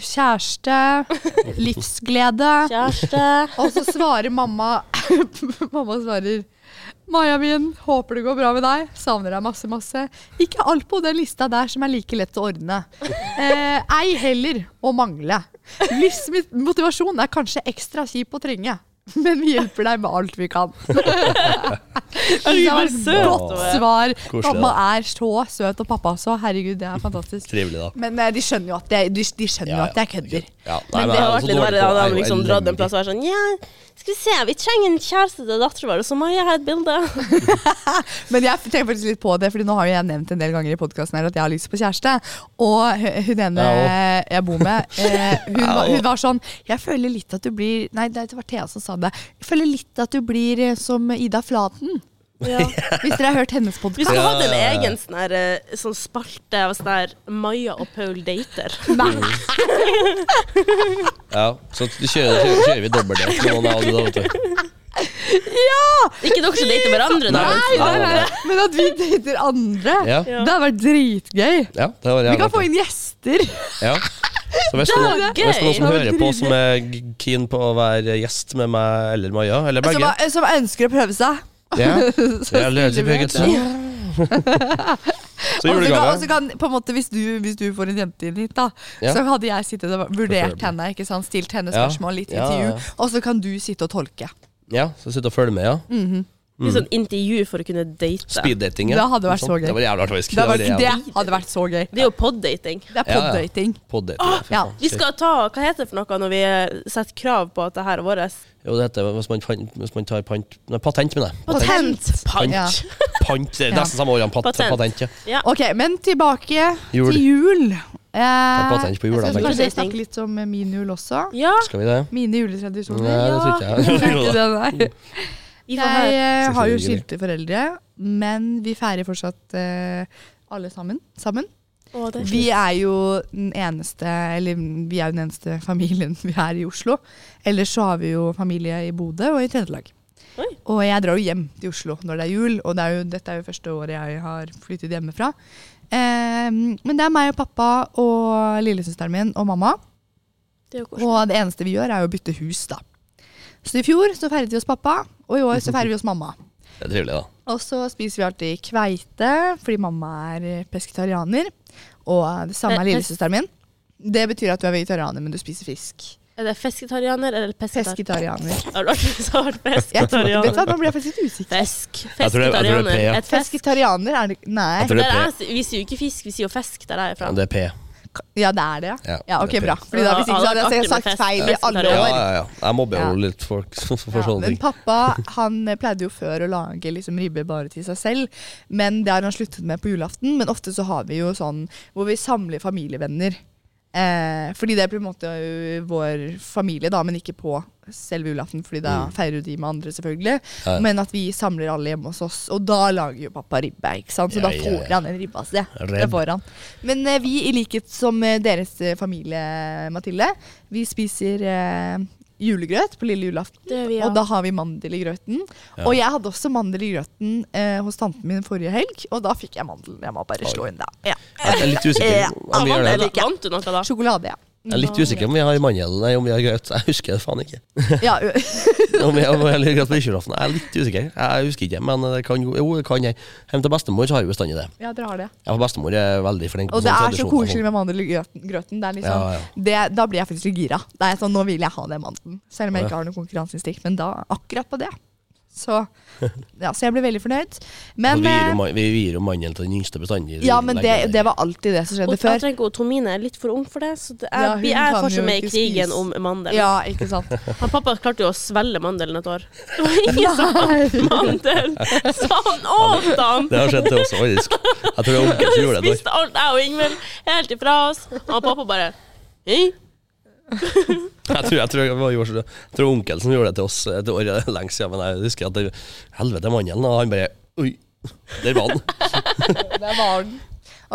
S1: kjæreste, livsglede.
S2: Kjæreste.
S1: Og så svarer mamma Mamma svarer Maja min, håper det går bra med deg. Savner deg masse, masse. Ikke alt på den lista der som er like lett å ordne. Eh, ei heller å mangle. Livsmotivasjon er kanskje ekstra kjip å trenge. Men vi hjelper deg med alt vi kan. Det var et godt svar.
S3: Koselig, da.
S1: Mamma er så søt, og pappa også. Herregud, det er fantastisk.
S3: Trivelig, da.
S1: Men eh, de skjønner jo at jeg, de, de skjønner jo at jeg kødder.
S3: Ja, nei,
S2: Men
S3: men
S2: det
S3: jeg
S2: har
S3: er så
S2: vært litt
S3: dårlig
S2: verre da
S3: på-
S2: de
S3: jeg er
S2: har
S3: jo
S2: liksom dratt en
S3: elendig.
S2: plass og vært sånn Ja, skal vi se, vi trenger en kjæreste til datteren vår, og så må jeg ha et bilde.
S1: Men jeg tenker faktisk litt på det, Fordi nå har jo jeg nevnt en del ganger i podcasten her at jeg har lyst på kjæreste. Og hu- hun ene jeg bor med, eh, hun, var, hun var sånn Jeg føler litt at du blir Nei, det var Thea som sa deg. Jeg føler litt at du blir eh, som Ida Flaten.
S2: Ja.
S1: Hvis dere har hørt hennes
S2: Vi
S1: podkast.
S2: skulle hatt en
S3: Ja, ja, ja.
S2: egen sånn, her, eh, sånn spalte av sånn her Maja og Paul dater.
S3: Ja, så du kjører, kjører, kjører vi dobbeltdate med noen av de da, vet du.
S2: Ikke dere som dater hverandre, da.
S1: Nei, nei, nei, men at vi dater andre.
S3: Ja,
S2: Ja.
S1: Det hadde vært dritgøy.
S3: ja det var
S1: Vi
S3: jævlig
S1: kan få
S3: artig.
S1: inn gjester.
S3: Ja. Så hvis det er noen,
S2: Det er
S3: hvis det er noen som
S1: gøy. Det
S3: hører
S1: var
S3: på som er g- keen på å være gjest med meg eller Maja, eller
S1: Som,
S3: begge
S1: som ønsker å prøve seg.
S3: ja.
S1: Altså, Så
S3: Ja, løs i
S1: stiller vi
S3: begge
S1: opp.
S3: to. Så
S1: Og så kan, og så
S3: julegave.
S1: kan, på en måte, hvis du, hvis du får en jente inn hit, da,
S3: Ja.
S1: så hadde jeg sittet og vurdert henne. ikke sant? Stilt henne
S3: Ja.
S1: spørsmål, litt
S3: Ja, ja,
S1: intervju,
S3: ja.
S1: og så kan du sitte og tolke.
S3: Ja, så sitte og følge med, ja.
S1: Mm.
S3: Mm.
S2: Litt sånn intervju for å kunne date.
S3: Speeddating.
S1: Det hadde vært sånn, så gøy.
S3: Sånn. Det var jævlig artig.
S1: Det, var,
S3: jævlig-
S1: det hadde vært så gøy.
S2: Det er jo poddating.
S1: Det er
S3: Ja, ja.
S1: poddating.
S3: Poddating, ja, fy
S1: Ja.
S3: faen.
S2: Vi skal ta Hva heter det for noe når vi eh, setter krav på at det her er vårt?
S3: Jo, det heter hvis man, fan- hvis man tar pant Nei, patent, mener jeg.
S1: Patent.
S3: Pant.
S1: Ja.
S3: Pant, det er
S1: Ja.
S3: nesten samme årene. Pat,
S2: Patent.
S3: patent. patent, ja.
S2: Ja.
S1: Ok, men tilbake
S3: Jul.
S1: til jul. Eh,
S3: patent på jul, da,
S1: jeg skal
S2: tenker
S1: kanskje
S2: jeg.
S1: snakke litt om eh, min jul også.
S2: ja.
S3: Skal vi det?
S1: Mine juletradisjoner.
S3: Nei, det tror ikke jeg.
S1: Nei, ikke det, nei.
S2: Vi får
S1: Jeg
S2: høre.
S1: eh,
S3: Så
S1: har jo
S3: hyggelig.
S1: skilte foreldre, men vi feirer fortsatt eh, alle sammen. sammen.
S2: Å, det er
S1: Vi er jo den eneste Eller vi er jo den eneste familien vi er i Oslo. Ellers så har vi jo familie i Bodø og i Trøndelag.
S2: Oi.
S1: Og jeg drar jo hjem til Oslo når det er jul, og det er jo, dette er jo første året jeg har flyttet hjemmefra. Eh, men det er meg og pappa og lillesøsteren min og mamma.
S2: Det er jo koselig.
S1: Og det eneste vi gjør, er jo å bytte hus, da. Så i fjor så feiret vi hos pappa, og i år så feirer vi hos mamma.
S3: Det er trivelig, da.
S1: Og så spiser vi alltid kveite, fordi mamma er pesketarianer. Og det samme er
S2: Pe-
S1: lillesøsteren min. Det betyr at du er vegetarianer, men du spiser fisk.
S2: Er det fisketarianer eller pesketar?
S1: Pesketarianer.
S2: Har du aldri sagt
S1: Jeg tror, vet du hva,
S2: pesketarianer?
S1: Nå ble jeg faktisk litt usikker.
S2: sånn Fisk.
S3: Jeg tror det- jeg tror det er P,
S2: Fisketarianer.
S3: ja.
S2: Et fisk.
S1: Pesketarianer er det Nei.
S3: Jeg tror det
S2: Der
S3: er
S2: er, vi sier jo ikke fisk, vi sier jo fisk der jeg er
S3: Ja,
S2: fra.
S3: det er P.
S1: Ja, det er det, ja.
S3: Ja,
S1: Ja, ok,
S3: det er
S1: bra. Fordi da, hvis ikke så hadde jeg sagt feil i alle
S3: Ja,
S1: år.
S3: ja, ja. Jeg mobber jo
S1: Ja.
S3: litt folk for for
S1: Ja,
S3: sånne
S1: men
S3: ting.
S1: pappa han pleide jo før å lage liksom ribbe bare til seg selv, men det har han sluttet med på julaften. Men ofte så har vi jo sånn hvor vi samler familievenner. Eh, fordi det blir på en måte ø, vår familie, da, men ikke på selve julaften, fordi da feirer jo de med andre, selvfølgelig.
S3: Mm. Ja.
S1: Men at vi samler alle hjemme hos oss, og da lager jo pappa ribbe, ikke sant? så
S3: Ja,
S1: da
S3: ja,
S1: får
S3: ja.
S1: han en ribbe av sted. Det
S3: Redd.
S1: får han. Men eh, vi, i likhet som eh, deres eh, familie, Mathilde, vi spiser eh, julegrøt på lille julaften.
S2: Det gjør vi, ja.
S1: Og da har vi mandel i grøten. Og jeg hadde også mandel i grøten eh, hos tanten min forrige helg, og da fikk jeg mandelen. Jeg må bare slå inn det. Ja.
S3: Jeg er litt usikker om vi gjør det.
S2: Vant- Vant du noe da?
S1: Sjokolade, ja.
S3: Jeg er litt usikker om vi har mandel, nei, om vi har grøt. Jeg husker det faen ikke.
S1: ja. ø-
S3: Om jeg, om jeg har grøt på julaften. Jeg er litt usikker. Jeg husker ikke, men det kan jo Jo, det kan jeg. Hjemme til bestemor så har jeg bestandig det.
S1: Ja, dere har det.
S3: Ja, for bestemor er veldig flink på
S1: Og det sånn
S3: sånne
S1: er så
S3: tradisjoner.
S1: koselig med mandel i grøten. grøten. Det er liksom,
S3: Sånn Ja, ja.
S1: Det, da blir jeg faktisk litt gira. Det er sånn, nå vil jeg ha den mandelen. Selv om jeg
S3: Ja.
S1: ikke har noe konkurranseinstinkt, men da akkurat på det. Så, ja, så jeg ble veldig fornøyd. Men,
S3: Og Altså, vi gir jo
S1: eh,
S3: man- vi gir jo mandel til den yngste bestandig.
S1: ja, men det, det var alltid det som
S2: Og
S1: skjedde
S2: Jeg
S1: før.
S2: trenger ikke å- Tomine er litt for ung for det, så det er,
S1: Ja, hun
S2: vi er
S1: kan jo
S2: fortsatt med i
S1: ikke
S2: krigen
S1: spise.
S2: om mandel.
S1: Ja, ikke sant.
S2: Han pappa klarte jo å svelge mandelen et år. Det var ingen som åt mandel! Så han åt den!
S3: Det har skjedd til oss, faktisk. Jeg tror det er onkel som gjorde
S2: Vi
S3: det.
S2: spiste alt, jeg og Ingvild, helt ifra oss. Og pappa bare «Hei?»
S3: Jeg tror, jeg, tror, jeg, var, jeg tror onkel som gjorde det til oss et år er det lenge siden, men jeg husker at det, helvete mandelen, og han bare Oi, der var den.
S1: Der var den.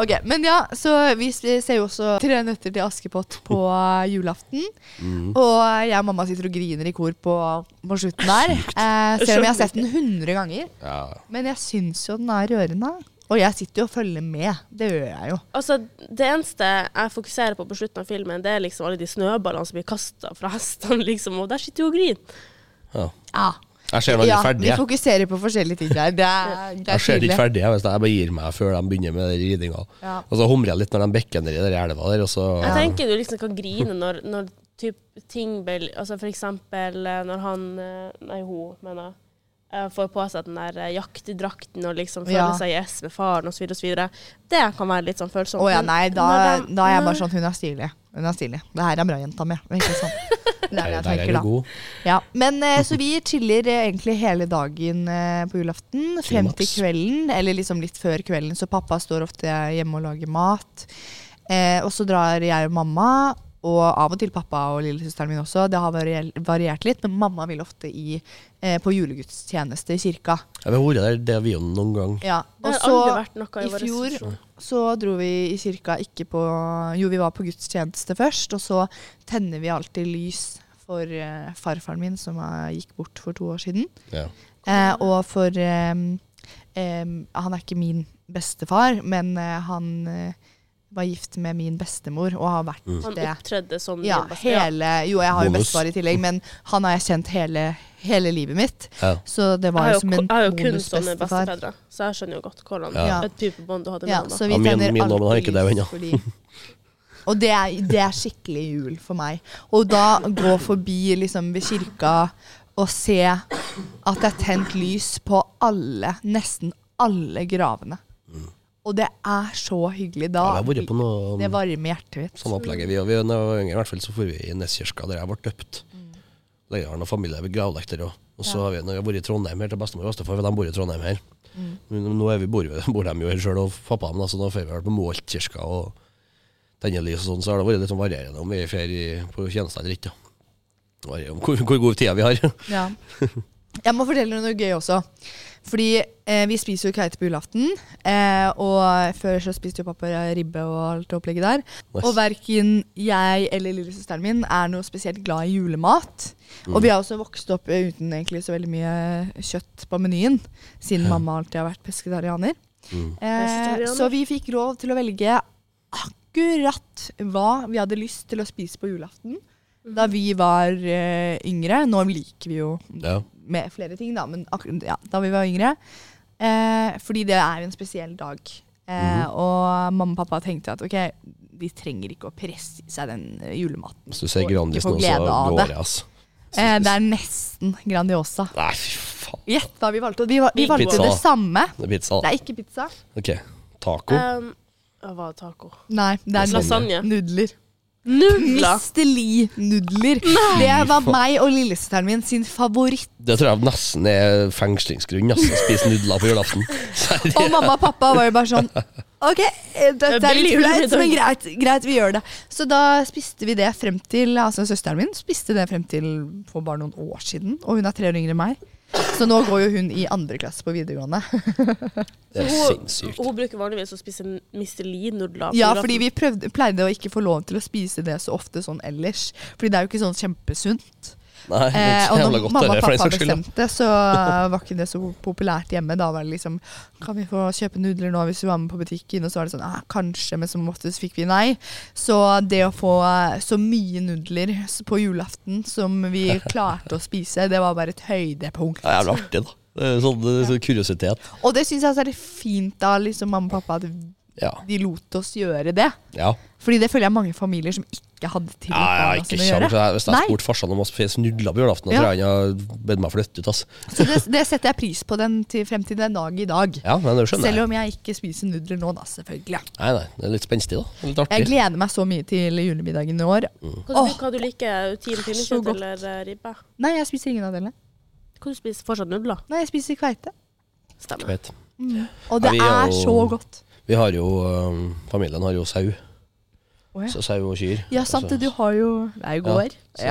S1: Ok, Men ja, så vi ser jo også Tre nøtter til Askepott på eh, julaften.
S3: Mm.
S1: Og jeg og mamma sitter og griner i kor på, på slutten der. Eh, selv om jeg har sett den 100 ganger.
S3: Ja.
S1: Men jeg syns jo den er rørende. Og jeg sitter jo og følger med. Det gjør jeg jo.
S2: Altså, det eneste jeg fokuserer på på slutten av filmen, det er liksom alle de snøballene som blir kasta fra hestene, liksom. Og der sitter jo og griner.
S3: Ja.
S1: Ja,
S3: Jeg ser meg ikke ferdig.
S1: Vi
S3: jeg.
S1: fokuserer på forskjellige ting der. Det er, det er
S3: Jeg ser
S1: tydelig.
S3: ikke ferdig, jeg, hvis jeg bare gir meg før de begynner med den ridinga.
S1: Ja.
S3: Og så humrer jeg litt når de bikker ned i den elva der, og så
S2: Jeg tenker du liksom kan grine når, når typ, ting blir Altså for eksempel eh, når han eh, Nei, hun, mener jeg. eh, Får på seg den der eh, jaktedrakten og liksom føler
S1: Ja.
S2: seg i ess med faren osv. osv. Det kan være litt sånn følsomt.
S1: Å ja,
S2: men
S1: nei, da,
S2: når de-
S1: da er jeg bare
S2: Nei.
S1: sånn Hun er stilig. Hun er stilig. Det her er bra, jenta mi. Ikke sant? Det er det
S3: Der
S1: jeg
S3: der er
S1: tenker,
S3: du
S1: da.
S3: god.
S1: Ja. Men eh, så vi chiller eh, egentlig hele dagen eh, på julaften frem til
S3: maks.
S1: kvelden, eller liksom litt før kvelden, så pappa står ofte hjemme og lager mat. Eh, og så drar jeg og mamma og av og til pappa og lillesøsteren min også. Det har varier- variert litt, men mamma vil ofte i, eh, på julegudstjeneste i kirka.
S3: Jeg har vært der, det er vi jo noen gang.
S1: Ja, og
S2: Det har
S1: så
S2: aldri vært noe i,
S1: i
S2: vår
S1: fjor
S3: sesjon.
S1: så dro vi i kirka ikke på Jo, vi var på gudstjeneste først, og så tenner vi alltid lys for eh, farfaren min, som eh, gikk bort for to år siden.
S3: Ja.
S1: Eh, og for eh, eh, Han er ikke min bestefar, men eh, han eh, var gift med min bestemor og har vært
S2: Mm. Han
S1: det.
S2: opptredde som
S1: Ja,
S2: Lillebas-
S1: hele, jo, jeg har jo
S3: Bonus.
S1: bestefar i tillegg, men han har jeg kjent hele, hele livet mitt.
S3: Ja.
S1: Så det
S2: Jeg har
S1: var
S2: jo,
S1: jo som en
S2: jeg har jo kun sånne
S1: bonusbestefar.
S2: bestefedre, så jeg skjønner jo godt hvordan
S1: Ja.
S2: et type bånd du hadde med
S1: Ja,
S2: ham. da.
S1: så vi
S3: Ja, min-
S1: tenner
S3: min
S1: alltid
S3: nabo har ikke det
S1: lys
S3: ennå.
S1: fordi- Og det er, det er skikkelig jul for meg. Og da gå forbi liksom ved kirka og se at det er tent lys på alle, nesten alle gravene. Og det er så hyggelig.
S3: Mm. Ja,
S1: Da
S3: jeg har vært på noe
S1: Det varmer hjertet mitt.
S3: Sånn opplegget vi, og vi når jeg var yngre, i hvert fall så for vi i Neskirka, der jeg ble døpt.
S1: Mm.
S3: Der har noen familie ved gravlagt der også. Og så har vi, når jeg bor i Trondheim her til bestemor og bestefar, for de bor i Trondheim her.
S1: Mm.
S3: Nå- Nå er vi, bor, vi- bor de jo her selv, og pappa dem, da, så nå får vi vel på Måltkirka og tenner lys og sånn, så har det vært litt sånn varierende om vi er ferie på tjeneste eller ikke. da. Det varierer om hvor, hvor god tid vi har.
S1: Ja. Jeg må fortelle noe gøy også. Fordi eh, vi spiser jo kveite på julaften. Eh, og før så spiste jo pappa ribbe og alt det opplegget der.
S3: Nice.
S1: Og verken jeg eller lillesøsteren min er noe spesielt glad i julemat. Og vi har også vokst opp eh, uten egentlig så veldig mye kjøtt på menyen, siden mamma alltid har vært pesketarianer. Eh,
S2: Pesketarianer.
S1: så vi fikk råd til å velge akkurat hva vi hadde lyst til å spise på julaften. Da vi var eh, yngre. Nå liker vi jo
S3: Ja.
S1: med flere ting, da, men akkurat ja, da vi var yngre. Eh, fordi det er jo en spesiell dag. Eh,
S2: Mhm.
S1: Og mamma og pappa tenkte at ok, de trenger ikke å presse i seg den eh, julematen.
S3: Hvis du ser
S1: Og
S3: Grandis
S1: ikke få
S3: nå, så
S1: glede av
S3: går
S1: det.
S3: jeg, altså.
S1: Eh, det er nesten Grandiosa.
S3: Nei, fy faen.
S1: Gjett hva vi valgte. Og vi, val- vi
S2: Pizza.
S1: valgte det samme.
S3: Det er pizza.
S1: Det er ikke pizza.
S3: Ok,
S1: Eh,
S3: taco.
S2: Um, hva var det, taco?
S1: Nei, det er
S2: Lasagne.
S1: nudler.
S2: Nudler!
S1: Mr. Lee-nudler. Det var meg og lillesøsteren min sin favoritt.
S3: Det tror jeg nesten er fengslingsgrunn, altså. å Spise nudler på julaften. Seriøst.
S1: Og mamma og pappa var jo bare sånn OK, eh, dette er litt flaut, men greit, greit, vi gjør det. Så da spiste vi det frem til Altså søsteren min spiste det frem til for bare noen år siden, og hun er tre år yngre enn meg. Så nå går jo hun i andre klasse på videregående.
S3: Det er
S2: Hun,
S3: sinnssykt.
S2: hun bruker vanligvis å spise Mr. Lee-nudler. på
S1: Ja,
S2: julaften.
S1: fordi vi prøvde, pleide å ikke få lov til å spise det så ofte sånn ellers. Fordi det er jo ikke sånn kjempesunt.
S3: Nei, det er
S1: Eh,
S3: ikke
S1: og
S3: jævla
S1: når
S3: godt,
S1: mamma
S3: det,
S1: og
S3: for den
S1: pappa
S3: saks skyld. da.
S1: bestemte, så var ikke det så populært hjemme. Da var det liksom Kan vi få kjøpe nudler nå hvis vi var med på butikken? Og så var det sånn ah, Kanskje, men som oftest fikk vi nei. Så det å få så mye nudler s- på julaften som vi klarte å spise, det var bare et høydepunkt.
S3: Det er jævla artig, da. Det er Sånn det er sånn kuriositet.
S1: Og det syns jeg også er litt fint av liksom, mamma og pappa at
S3: Ja.
S1: de lot oss gjøre det.
S3: ja.
S1: Fordi det føler jeg er mange familier som ikke hadde til
S3: ja jeg har
S1: barna
S3: ikke
S1: sine å gjøre.
S3: kjangs. Hvis jeg
S1: Nei.
S3: hadde spurt farsan om å spise nudler på julaften, da
S1: Ja.
S3: tror jeg han hadde bedt meg flytte ut. altså. ass.
S1: Så det, det setter jeg pris på den til, frem til den dag i dag.
S3: Ja, men det skjønner
S1: Selv
S3: jeg.
S1: om jeg ikke spiser nudler nå, da, selvfølgelig.
S3: Nei, nei, det er litt spenstig, da. Det er Litt
S1: Jeg
S3: artig.
S1: gleder meg så mye til julemiddagen i år.
S2: Hva
S1: Åh.
S2: du, hva du liker? Tim
S1: Så
S2: pinnekjøtt
S1: godt.
S2: eller eh, ribbe?
S1: Nei, jeg spiser ingen av delene.
S2: Kan du spise fortsatt nudler?
S1: Nei, jeg spiser kveite.
S3: Jeg
S2: Stemmer.
S3: vet.
S1: Og
S3: Ja,
S1: det
S3: vi
S1: er
S3: er jo-
S1: så godt.
S3: Vi har jo øhm, Familien har jo sau.
S1: Å, ja.
S3: Så sau og kyr.
S1: Ja, sant det. Du har jo Det er jo gård.
S3: Altså, Så-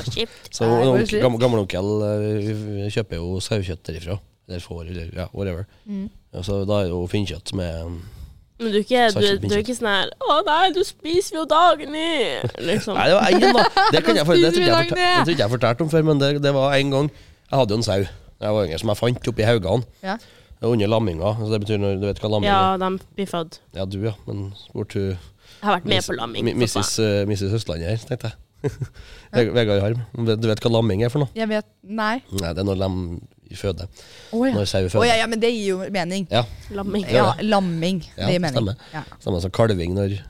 S1: Ja.
S2: Så kjipt.
S3: Så
S1: Nei,
S3: onkel,
S1: det er
S3: gam- gammelonkel eh, vi- vi kjøper jo sauekjøtt derifra. Eller får, eller ja, whatever.
S1: Mm.
S3: Ja, så da er det jo finnkjøtt som er
S2: Men du er ikke, du,
S3: Så kjipt,
S2: du er ikke sånn her Å nei, du spiser jo dagen i! Liksom.
S3: Nei, det var én, da! Det, kan jeg, for- det tror ikke jeg
S1: Spiser vi
S3: forta- det
S1: Dagny?
S3: tror ikke jeg fortalte om før, men det, det var en gang jeg hadde jo en sau da jeg var yngre, som jeg fant oppi haugene
S1: Ja.
S3: under lamminga. Så det betyr når du vet hva lamming
S2: Ja,
S3: er?
S2: de blir født.
S3: Ja, du, ja. Men spurte hun
S2: Jeg har vært med
S3: Miss-
S2: på lamming.
S3: mi- Mrs. eh, Mrs. Østlandet her, tenkte jeg. Veg- Vegard Harm. Du vet hva lamming er for noe?
S1: Jeg vet Nei.
S3: Nei, det er når lam føder.
S1: Å ja.
S3: Når sau
S1: Å, ja,
S3: føder.
S1: ja, men det gir jo mening.
S3: Ja,
S2: for faen. Lamming.
S1: Ja, lamming.
S3: Ja,
S1: Det gir mening.
S3: stemmer.
S1: Ja.
S3: Samme som kalving når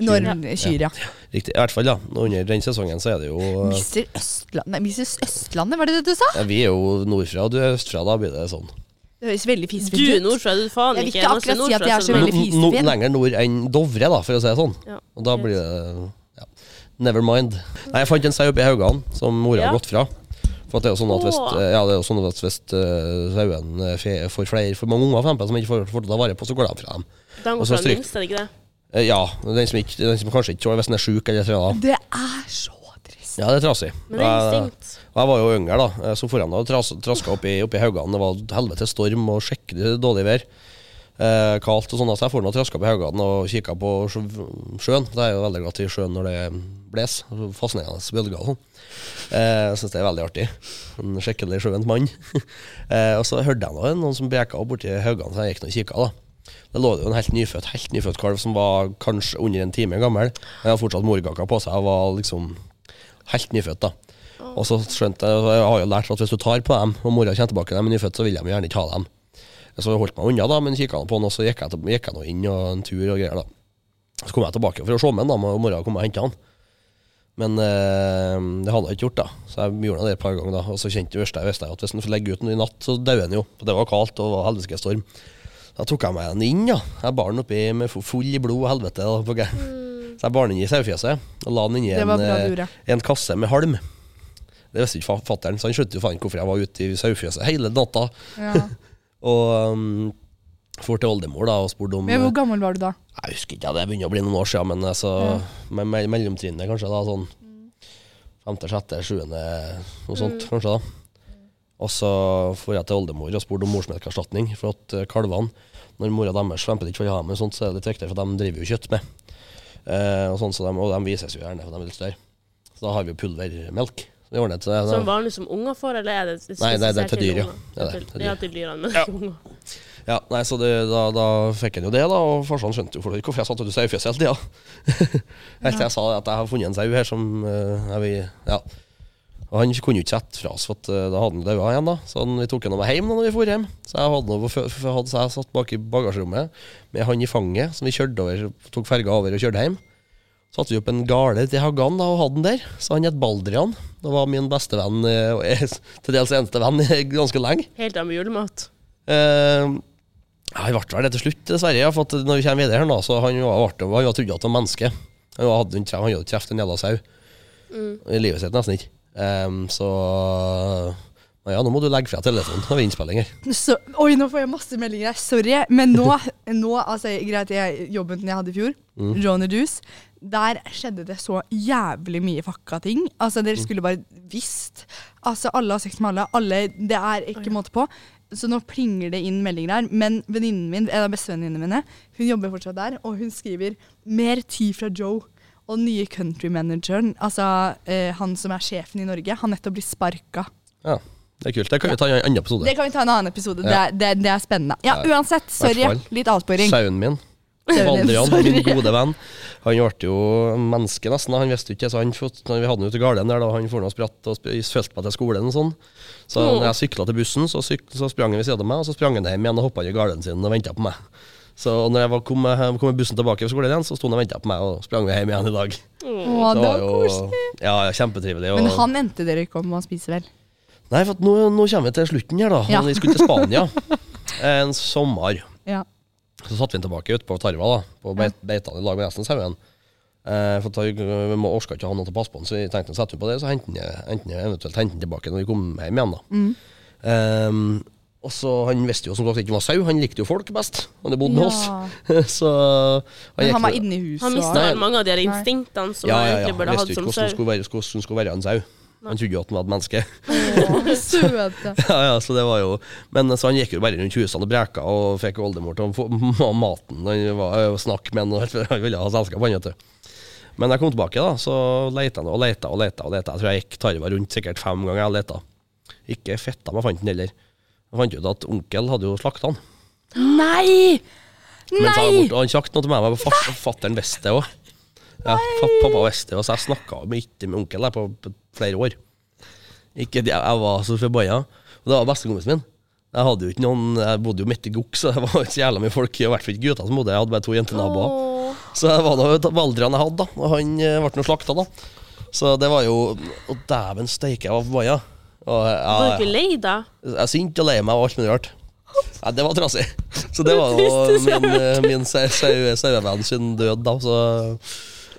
S1: Når kyr, ja.
S3: Riktig. I hvert fall, da. Under den sesongen så er det jo
S1: Mister Østlandet Nei, Mrs. Østlandet, var det det du sa?
S3: ja, eh, Vi er jo nordfra, og du er østfra. Da blir det sånn.
S1: Det høres veldig
S2: Du er
S1: fisefint ut.
S2: nordfra, du er faen
S1: Jeg vil
S2: ikke
S1: ikke
S2: eneste
S1: akkurat si at
S2: nordfra
S1: jeg er så
S2: som
S1: veldig
S3: No, no,
S1: fisefin.
S3: lenger nord enn Dovre, da, for å si det sånn.
S2: Ja. Mm.
S3: Og da blir det ja. Never mind. Nei, jeg fant en sau oppi haugene som mora
S2: Ja.
S3: har gått fra. For at det er jo sånn at hvis,
S2: Åh.
S3: ja, det er jo sånn at hvis eh, sauen eh, fe- får flere for mange unger for eksempel, som ikke får, får ta vare på, så går de fra dem.
S2: De
S3: Og
S2: går
S3: så
S2: fra
S3: stryk-
S2: minst, er det ikke det?
S3: Eh, Ja, den som, ikke, den som kanskje ikke tåler hvis den er sjuk eller trena.
S1: Det er så trist.
S3: Ja, det er trasig.
S2: Men det er
S3: Jeg-
S2: instinkt.
S3: Og Jeg var jo yngre, da. eh, Så foran da tras, traska opp i, opp i haugene. Det var helvete storm og skikkelig dårlig vær. Eh, kaldt og sånn. da, Så jeg foran og traska opp i haugene og kikka på sjø- sjøen. Det er jo veldig glad i sjøen når det blåser. Fascinerende bølger og sånn. Eh, Jeg syns det er veldig artig. En skikkelig sjøent mann. eh, og så hørte jeg noe, noen som breka opp borti haugene, så jeg gikk nå og kikka, da. Det lå det jo en helt nyfødt, helt nyfødt kalv som var kanskje under en time gammel. Han hadde fortsatt morkaka på seg og var liksom helt nyfødt, da. Og så skjønte jeg, og jeg har jo lært at hvis du tar på dem, og mora kommer tilbake dem nyfødt, så vil de gjerne ikke ha dem. Så jeg holdt meg unna, da, men kikka på den, og så gikk jeg, til- gikk jeg nå inn og en tur og greier, da. Så kom jeg tilbake for å se med den, da, og mora kom og henta han. Men eh, det hadde jeg ikke gjort, da. Så jeg gjorde det et par ganger, da. Og så kjente jeg visste jeg visste jeg at hvis en får legge ut den i natt, så dauer den jo. For det var kaldt, og det var helvetes storm. Da tok jeg meg den inn, da. Jeg bar den oppi med fu- full i blod og helvete. Da, på gær- Så jeg bar den inn i sauefjeset, og la den inn i
S1: Mm. Det
S3: en,
S1: var bra
S3: eh,
S1: du gjorde.
S3: en kasse med halm. Det visste ikke fa- fatteren, så han skjønte jo faen ikke hvorfor jeg var ute i sauefjøset hele natta.
S1: Ja.
S3: Og um, for til oldemor da og spurte om
S1: Men hvor gammel var du da?
S3: Jeg husker ikke, det begynner å bli noen år siden, men altså, med me mellomtrinnet kanskje da, sånn femte, sjette, sjuende, noe sånt kanskje da. Og så får jeg til oldemor og spurte om morsmelkerstatning, for at eh, kalvene, når mora deres svømper ikke for å ha med sånt, så er det litt viktigere, for de driver jo kjøtt med. Eh, og, sånn, så de, og de vises jo gjerne, for de er litt større. Så da har vi jo pulvermelk. Så det ordnet, så det,
S2: Som vanlig som unger får, eller er det spesielt
S3: Nei, det er- det er til dyr, ja.
S2: unger?
S3: Det er det, til
S2: Ja,
S3: dyr.
S2: til dyrene, men ikke unger.
S3: Ja, nei, så det, da, da fikk han jo det, da, og farsan skjønte jo for- hvorfor jeg satt ute i sauefjøset hele tida. Helt til jeg sa at jeg har funnet en sau her som eh, jeg vil Ja. Og han kunne jo ikke sette fra oss, for at, eh, da hadde han daua igjen, da. Så han, vi tok han med hjem da når vi dro hjem. Så jeg hadde, noe, for, for hadde, så jeg satt bak i bagasjerommet med han i fanget, som vi kjørte over, tok ferga over og kjørte hjem. Så satte vi opp en gale til Hagan da, og hadde den der. Så han het Baldrian. Det var min beste venn, eh, og er til dels eneste venn, eh, ganske lenge.
S2: Helt av med julemat.
S3: Eh, ja, han ble vel det til slutt, dessverre. Ja, for at når vi kommer videre her nå, så han var, ble, han var trodde at han var menneske. Han var- hadde ikke han hadde truffet en jævla sau. I livet sitt nesten ikke. Ehm, så Men ja, nå må du legge fra telefonen. Nå har vi innspilling her.
S1: Så, oi, nå får jeg masse meldinger her. Sorry. Men nå, nå altså, greit, jeg, jobben jeg hadde i fjor, Johnny Doos, der skjedde det så jævlig mye fucka ting. Altså, dere skulle bare visst. Altså, alle har sex med alle. alle det er ikke måte på. Så nå plinger det inn meldinger her. Men venninnen min, en av bestevenninnene mine, hun jobber fortsatt der, og hun skriver 'Mer tid fra Joe'. Og den nye countrymanageren, altså eh, han som er sjefen i Norge, han nettopp blir sparka.
S3: Ja, det er kult. Det kan vi ta i en annen episode.
S1: Det kan vi ta en annen episode.
S3: Ja.
S1: Det, er- det, det er spennende. Ja,
S3: Ja,
S1: uansett. Sorry.
S3: hvert fall.
S1: Litt avsporing.
S3: Sauen min.
S1: Sauen din,
S3: Adrian,
S1: sorry.
S3: min gode venn. Han ble jo menneske nesten. da. Han visste jo ikke, så han fått, når vi hadde han ute i garden der, da han for noe spratt og sp- følte meg til skolen og sånn. Så
S1: Mm.
S3: når jeg sykla til bussen, så, syk, så sprang han ved siden av meg, og så sprang han hjem igjen og hoppa i garden sin og venta på meg. Så når jeg var, kom, med- kom med bussen tilbake fra skolen igjen, så sto han og venta på meg, og sprang vi hjem igjen i dag.
S1: Å,
S3: Så
S1: det var
S3: jo-
S1: koselig.
S3: Ja, ja, kjempetrivelig. Og,
S1: Men han endte dere ikke om å spise, vel?
S3: Nei, for at nå, nå kommer vi til slutten her, da.
S1: Ja.
S3: Vi skulle til Spania en sommer.
S1: Ja.
S3: Så satt vi den tilbake ute på tarva, da, på beit, beitene i lag med resten av sauen. Eh, for at vi vi må orka ikke ha noen til å passe på den, så vi tenkte å sette den på det, så hente den, hente den, eventuelt hente den tilbake når vi kom hjem igjen. da.
S1: Mm.
S3: Ehm, og så Han visste jo som sagt ikke han var sau, han likte jo folk best. Han hadde bodd med
S1: Ja.
S3: oss. så
S1: Men han
S3: jo-
S1: var inne i huset.
S2: Han mista
S1: og-
S3: Nei.
S2: vel mange av de her
S1: Nei.
S2: instinktene som
S3: ja,
S2: han
S3: ja, ja.
S2: egentlig
S3: Han
S2: burde
S3: visste
S2: hatt
S3: jo ikke
S2: som
S3: hvordan han
S2: sau.
S3: skulle være, hvordan han skulle være en sau. Han trodde jo at han var et menneske.
S1: Å, Søte.
S3: Ja, ja, så det var jo Men så han gikk jo bare rundt husene og breka og fikk oldemor til å få ma- maten Han var og snakke med han, og alt, for han ville ha selskap, han, vet du. Men jeg kom tilbake, da, så leita han og leita og leita. og leita. Jeg tror jeg gikk tarva rundt sikkert fem ganger. jeg leta. Ikke fitta meg fant den heller. Jeg fant ut at onkel hadde jo slakta han.
S1: Nei!
S3: Mens jeg var
S1: Nei!
S3: borte, og han sagt noe til meg, men fars, fatter'n visste det òg. Ja, fa- pappa visste det, og så jeg snakka ikke med onkel jeg, på, på flere år. Ikke, jeg, jeg var så forbanna. Og det var bestekompisen min. Jeg hadde jo ikke noen, jeg bodde jo midt i gokk, så det var ikke så jævla mye folk. I hvert fall ikke gutter som bodde, jeg hadde bare to jentenaboer. Så det var noe Valdrian jeg hadde, da. Og han eh, ble nå slakta, da. Så det var jo Å, dæven steike, jeg var forbanna. Og jeg-
S2: Var du
S3: jeg-
S2: ikke lei deg?
S3: jeg er sint og lei meg og alt mulig rart. Nei, det var trasig. Så det var jo min, eh, min sau- sau- sauevenn sin død, da. Så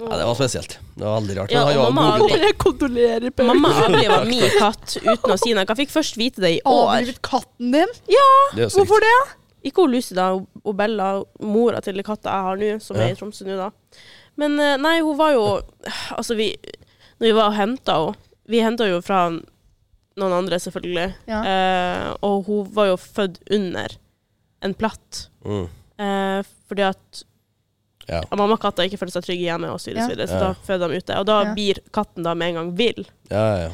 S3: Nei, det var spesielt. Det var veldig rart.
S2: Ja,
S3: Men han var
S2: og mamma
S3: en god gutt, da.
S1: Dere kondolerer, Per.
S2: Mamma avliva min katt uten å si noe. Jeg fikk først vite det i år.
S1: Avlivet katten din?
S2: Ja!
S3: Det er sykt.
S1: Hvorfor det?
S2: Ikke hun Lucy, da, og Bella, mora til katta jeg har nå, som
S3: Ja.
S2: er i Tromsø nå, da. Men eh, nei, hun var jo Altså, vi Når vi var og henta henne Vi henta jo fra noen andre, selvfølgelig.
S1: Ja.
S2: Eh, og hun var jo født under en platt.
S3: Mm.
S2: Eh, fordi at
S3: Ja.
S2: mammakatter ikke føler seg trygge hjemme, og så, videre,
S1: Ja.
S2: og så, videre, så
S3: Ja.
S2: da føder de ute. Og da
S1: Ja.
S2: blir katten da med en gang vill.
S3: Ja, ja, ja.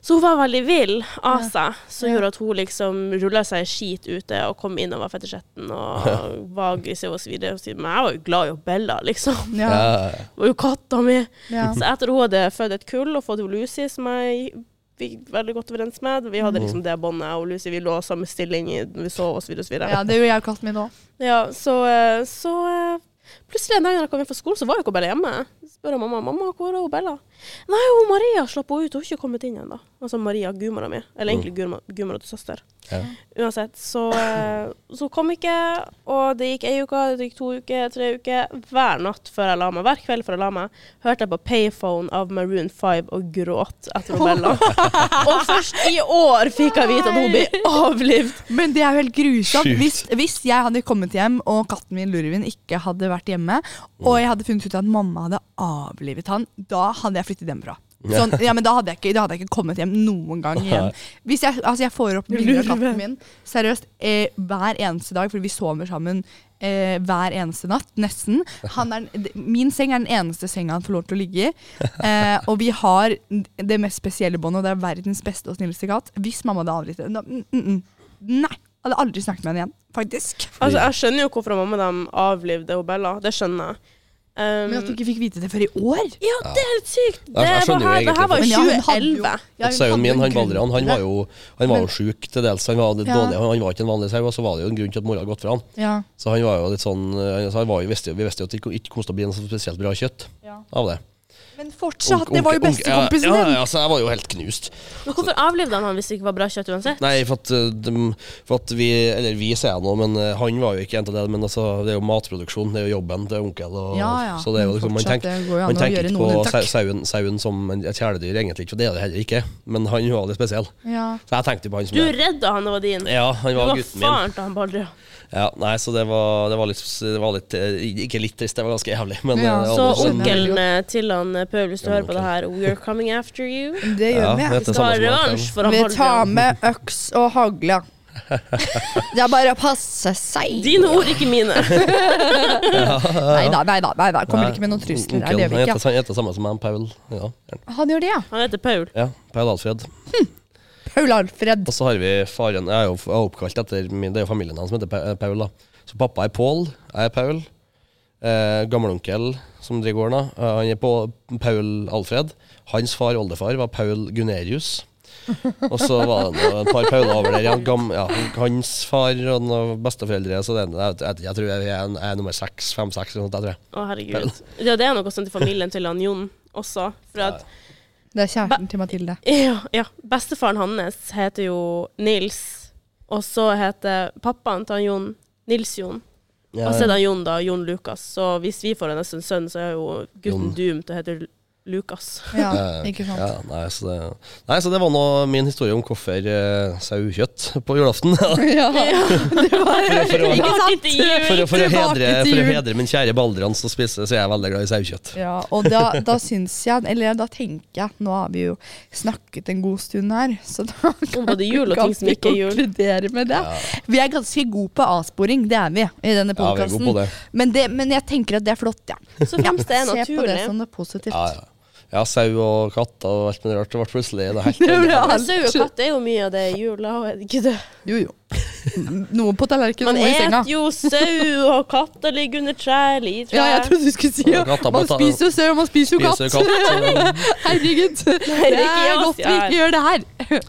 S2: Så hun var veldig vill av
S1: Ja.
S2: seg, som
S1: Ja.
S2: gjorde at hun liksom rulla seg i skit ute og kom inn og var fettersetten og var aggressiv og så videre. Og så videre. Men jeg var jo glad i Bella, liksom.
S1: Ja.
S3: ja, ja, ja.
S2: Det var jo katta mi.
S1: Ja.
S2: Så etter hun hadde født et kull og fått hun Lucy, som jeg fikk veldig godt overens med Vi hadde liksom det båndet, jeg og Lucy vi lå i samme stilling i- når vi sov og så videre og så videre.
S1: ja, det gjorde jeg og katten min òg.
S2: Ja, så, eh, så eh, plutselig en dag når jeg kom hjem fra skolen, så var jo ikke Bella hjemme. Så spør jeg mamma mamma, hvor er hun Bella. Nei, hun Maria slapp hun ut, hun har ikke kommet inn ennå. Altså Maria, gudmora mi. Eller egentlig gudmora- gudmora til søster.
S3: Ja.
S2: Uansett, så, eh, så kom ikke, og det gikk ei uke, det gikk to uker, tre uker. Hver natt før jeg la meg, hver kveld før jeg la meg, hørte jeg på Payphone av Maroon 5 og gråt etter hun Bella. og først i år fikk jeg vite at hun ble avlivd.
S1: Men det er jo helt grusomt.
S3: Sjukt.
S1: Hvis, hvis jeg hadde kommet hjem, og katten min Lurvin ikke hadde vært hjemme, og jeg hadde funnet ut at mamma hadde avlivet han, da hadde jeg flyttet hjemmefra. Sånn, ja, men da hadde, jeg ikke, da hadde jeg ikke kommet hjem noen gang igjen. Hvis jeg, altså jeg får opp bilder av katten min seriøst eh, hver eneste dag, for vi sover sammen eh, hver eneste natt, nesten. Han er, d- min seng er den eneste senga han får lov til å ligge i. Eh, og vi har det mest spesielle båndet, og det er verdens beste og snilleste katt. Hvis mamma hadde avlitt det da- mm, mm, mm. Nei! Hadde aldri snakket med henne igjen, faktisk.
S2: Altså, jeg skjønner jo hvorfor mamma dem avlivde hun Bella. Det skjønner jeg. Um,
S1: Men at du ikke fikk vite det før i år.
S2: ja, det er helt sykt! Det,
S3: jeg
S2: var
S3: skjønner jo
S2: her, det
S3: egentlig
S2: her var
S1: Men ja,
S2: jo
S1: hun hadde jo-
S2: 2011.
S1: ja, hun hadde
S3: Sauen min,
S1: en
S3: han
S1: grunn
S3: Baldrian, han
S1: til
S3: var
S1: det.
S3: jo, han var
S1: Men-
S3: jo sjuk til dels. Han var, litt
S1: Ja.
S3: dårlig, han var ikke en vanlig sau, og så var det jo en grunn til at mora hadde gått fra han.
S1: ja.
S3: Så han var jo litt sånn eh, så han var jo, visste, jo- Vi visste jo at det ikke kom til å bli en så spesielt bra kjøtt
S1: Ja.
S3: av det.
S1: Men fortsatt,
S3: Onkel-
S1: det var jo
S3: onkel-
S1: bestekompisen
S3: ja,
S1: din!
S3: ja, ja, altså, jeg var jo helt knust.
S2: Men hvorfor avlivde han han hvis det ikke var bra kjøtt uansett?
S3: Nei, for at, eh, dem- for at vi Eller vi sier jeg nå, men eh, han var jo ikke en av det. Men altså, det er jo matproduksjon, det er jo jobben til onkel. Og,
S1: Ja, ja.
S3: Så det er jo
S1: Men
S3: liksom, man
S1: fortsatt,
S3: tenker,
S1: det går jo an
S3: man
S1: å
S3: tenker
S1: gjøre
S3: ikke
S1: noen
S3: på
S1: unntak.
S3: sau- sauen, sauen som en- et kjæledyr, egentlig ikke, for det er det heller ikke. Men han var litt spesiell.
S1: Ja.
S3: Så jeg tenkte på han som
S2: Du
S3: en-
S2: redda han det var din.
S3: Ja, han
S2: Du
S3: var
S2: var
S3: gutten min.
S2: faren til han Baldrian.
S3: Ja, nei, så det var, det var litt, det var litt eh, Ikke litt trist, det var ganske jævlig. Men
S1: Ja,
S3: eh,
S2: Så
S3: det var sånn-
S1: skjønner jeg veldig
S2: onkelen eh, til han eh, Paul, hvis du
S3: Ja,
S2: hører på
S3: onkel.
S2: det her, we're coming after you.
S1: Det gjør
S3: Ja,
S1: vi.
S3: vet
S2: Vi
S3: det
S2: skal ha
S3: samme som
S2: revansj
S3: onkelen.
S2: for han
S1: Vi tar
S2: Baldrian.
S1: med øks og hagle. Det er bare å passe seg.
S2: Dine ord, ikke mine.
S1: Nei da, nei da. Nei da. Kommer ikke med noen trusler. her,
S3: Onkelen,
S1: Det gjør vi
S3: han
S1: ikke.
S3: heter- Han heter samme som meg, Paul. Ja,
S1: Han gjør det, ja.
S2: Han heter Paul.
S3: ja Paul Alfred.
S1: Paul Alfred.
S3: Og så har vi faren Jeg er jo f- jeg er oppkalt etter min, Det er jo familien hans som heter Pa- eh, Paul. da Så pappa er Paul, jeg er Paul. Eh, Gammelonkel som driver gården, da, eh, han er på Paul Alfred. Hans far, oldefar, var Paul Gunerius. Og så var det noe- et par Pauler over der igjen. Gam, ja, hans far og noen besteforeldre. Så det, er- jeg, vet- jeg tror jeg er, jeg er nummer seks, fem-seks eller noe sånt. Jeg tror jeg.
S2: Å, herregud. Ja, det er noe sånt i familien til han Jon også. For at
S1: Det er kjæresten til Mathilde.
S2: Ja, ja. Bestefaren hans heter jo Nils, og så heter pappaen til han Jon Nils Jon.
S3: Ja,
S2: Og så er
S3: ja.
S2: det han Jon, da. Jon Lukas. Så hvis vi får en nesten sønn, så er jo gutten
S3: Jon.
S2: doomed og heter Lukas.
S1: Ja,
S3: Ja,
S1: ikke sant.
S3: Ja, nei, så det, nei, så det var nå min historie om hvorfor eh, saukjøtt på julaften.
S1: Ja, det var
S3: for å-
S1: Ikke sant?
S3: For, å- for, å,
S1: Tilbake
S3: hedre,
S1: til
S3: for å
S1: jul.
S3: hedre min kjære Baldrian som spiser, så er jeg veldig glad i sauekjøtt.
S1: Ja, og da, da syns jeg, eller da tenker jeg Nå har vi jo snakket en god stund her, så da
S2: Om både jul og ting som ikke er jul.
S1: konkludere med det. Vi er ganske gode på avsporing, det er vi, i denne
S3: Ja, vi er gode
S1: podkasten.
S3: på det.
S1: men, det- men jeg tenker at det er flott, ja.
S2: Så fremst det er
S1: Se på det
S2: naturlig.
S1: som noe positivt.
S3: Ja, ja. ja, sau og katter og alt mulig rart. Det ble plutselig det helt
S1: Det ble
S2: Men
S1: alt.
S2: Sau og katt er jo mye av det i jula, er det ikke det?
S1: Jo, jo. Noe på tallerkenen
S2: Man
S1: og noe i senga.
S2: et jo sau, og katter ligger under trær, eller i
S1: Ja, jeg
S2: trær.
S1: trodde du skulle si
S3: Ja, katta
S1: ja. Man
S3: på ta-
S1: spiser jo sau, og man spiser jo
S3: Spiser
S1: katt.
S3: katt.
S1: Herregud.
S2: ikke
S1: Det er
S2: i
S1: godt vi
S2: Asia her.
S1: ikke gjør det her.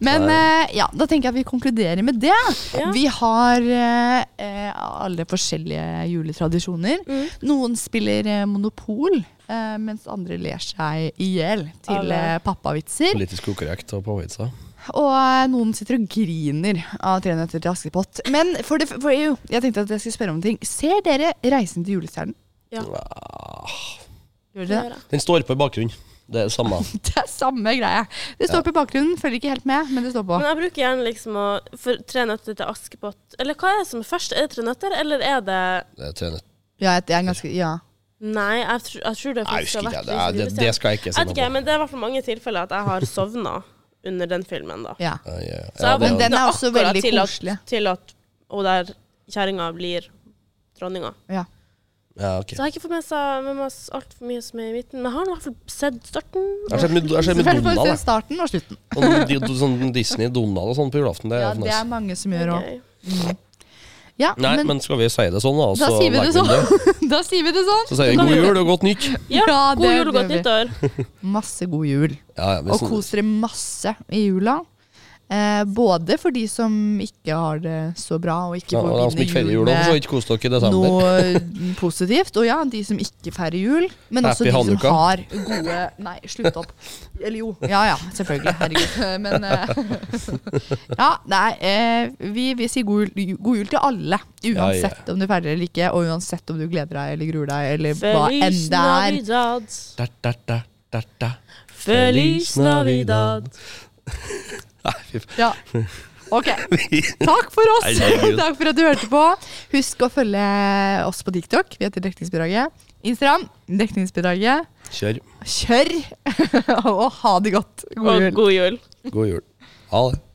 S1: Men
S3: Nei.
S1: eh, ja, da tenker jeg at vi konkluderer med det.
S2: Ja.
S1: Vi har eh, eh, alle forskjellige juletradisjoner.
S2: Mm.
S1: Noen spiller eh, Monopol, eh, mens andre ler seg i hjel til
S2: Alle.
S1: eh, pappavitser.
S3: Politisk ukorrekt og påvitsa.
S1: Og eh, noen sitter og griner av 'Tre nøtter til Askepott'. Men for det, for, jo, jeg tenkte at jeg skulle spørre om en ting. Ser dere 'Reisen til julestjernen'?
S2: Ja.
S1: Gjør dere
S2: Det gjør
S1: det?
S2: jeg.
S3: Den står på i bakgrunnen. Det er det samme.
S1: Det er samme greie. Det står på bakgrunnen, følger ikke helt med, men det står på.
S2: Men jeg bruker gjerne liksom å For tre nøtter til Askepott Eller hva er det som er først? Er det tre nøtter, eller er det
S3: Det er tre nøtter.
S1: Ja, jeg er ganske, ja.
S2: Nei, jeg, tr jeg tror det
S3: Nei, jeg
S2: faktisk
S3: husker
S2: har
S3: ikke.
S2: vært
S3: Det, er, det,
S2: liksom
S3: det skal jeg ikke
S2: Jeg
S3: si
S2: vet
S3: noe
S2: ikke,
S3: på.
S2: men det er i hvert fall mange tilfeller at jeg har sovna under den filmen, da.
S1: ja.
S3: Ja, ja,
S2: Så jeg
S3: ja,
S1: Men
S3: det er-
S1: den
S2: våkner
S1: er også
S2: akkurat
S1: veldig
S2: til at-
S1: koselig.
S2: Til at hun der kjerringa blir dronninga.
S1: Ja.
S3: ja, ok.
S2: Så jeg har ikke fått med, seg, med meg altfor mye som er i midten, men jeg har i hvert fall sett starten.
S3: Jeg har sett med, jeg har sett
S1: I
S3: med
S1: hvert fall
S3: Donald. jeg.
S1: starten og slutten.
S3: Sånn, di- do- sånn Disney, Donald og sånn på julaften. Det er
S1: Ja,
S3: for
S1: det
S3: nice.
S1: er mange som gjør òg.
S2: Gøy.
S1: Ja,
S3: Nei,
S1: men,
S3: men skal vi si det sånn, da?
S1: da
S3: så
S1: sier vi det
S3: legger vi det.
S1: sånn. Da sier vi det sånn.
S3: Så sier vi god jul og godt nytt.
S2: Ja,
S1: Ja,
S2: god
S1: det-
S2: jul og godt
S1: det
S2: nyttår.
S1: Masse god jul.
S3: Ja, ja,
S1: Og
S3: hvis-
S1: kos dere masse i jula. Eh, både for de som ikke har det så bra, og ikke
S3: ja, og de
S1: får
S3: som ikke
S1: begynne
S3: feirer
S1: jul
S3: jul, så
S1: med
S3: ikke kos dere i desember.
S1: noe eh, positivt. Og ja, de som ikke feirer jul, men også de
S3: Happy
S1: som
S3: Hanukkah.
S1: har gode Nei, slutt opp. Eller jo. Ja ja, selvfølgelig. Herregud. Men eh, Ja, nei. eh, Vi, vi sier god jul, god jul til alle.
S3: ja.
S1: Uansett om du feirer eller ikke, og uansett om du gleder deg eller gruer deg, eller hva enn
S2: Feliz
S1: det er.
S2: Navidad.
S3: Da, da, da, da, da.
S2: Feliz Navidad.
S3: Nei, fy faen.
S1: Ja. Ok. Takk for oss.
S3: Herregud.
S1: Takk for at du hørte på. Husk å følge oss på TikTok. Vi heter Dekningsbidraget. Instagram Dekningsbidraget.
S3: Kjør.
S1: Kjør! og ha det godt. God
S2: Og
S1: jul.
S2: god jul.
S3: God jul. Ha det.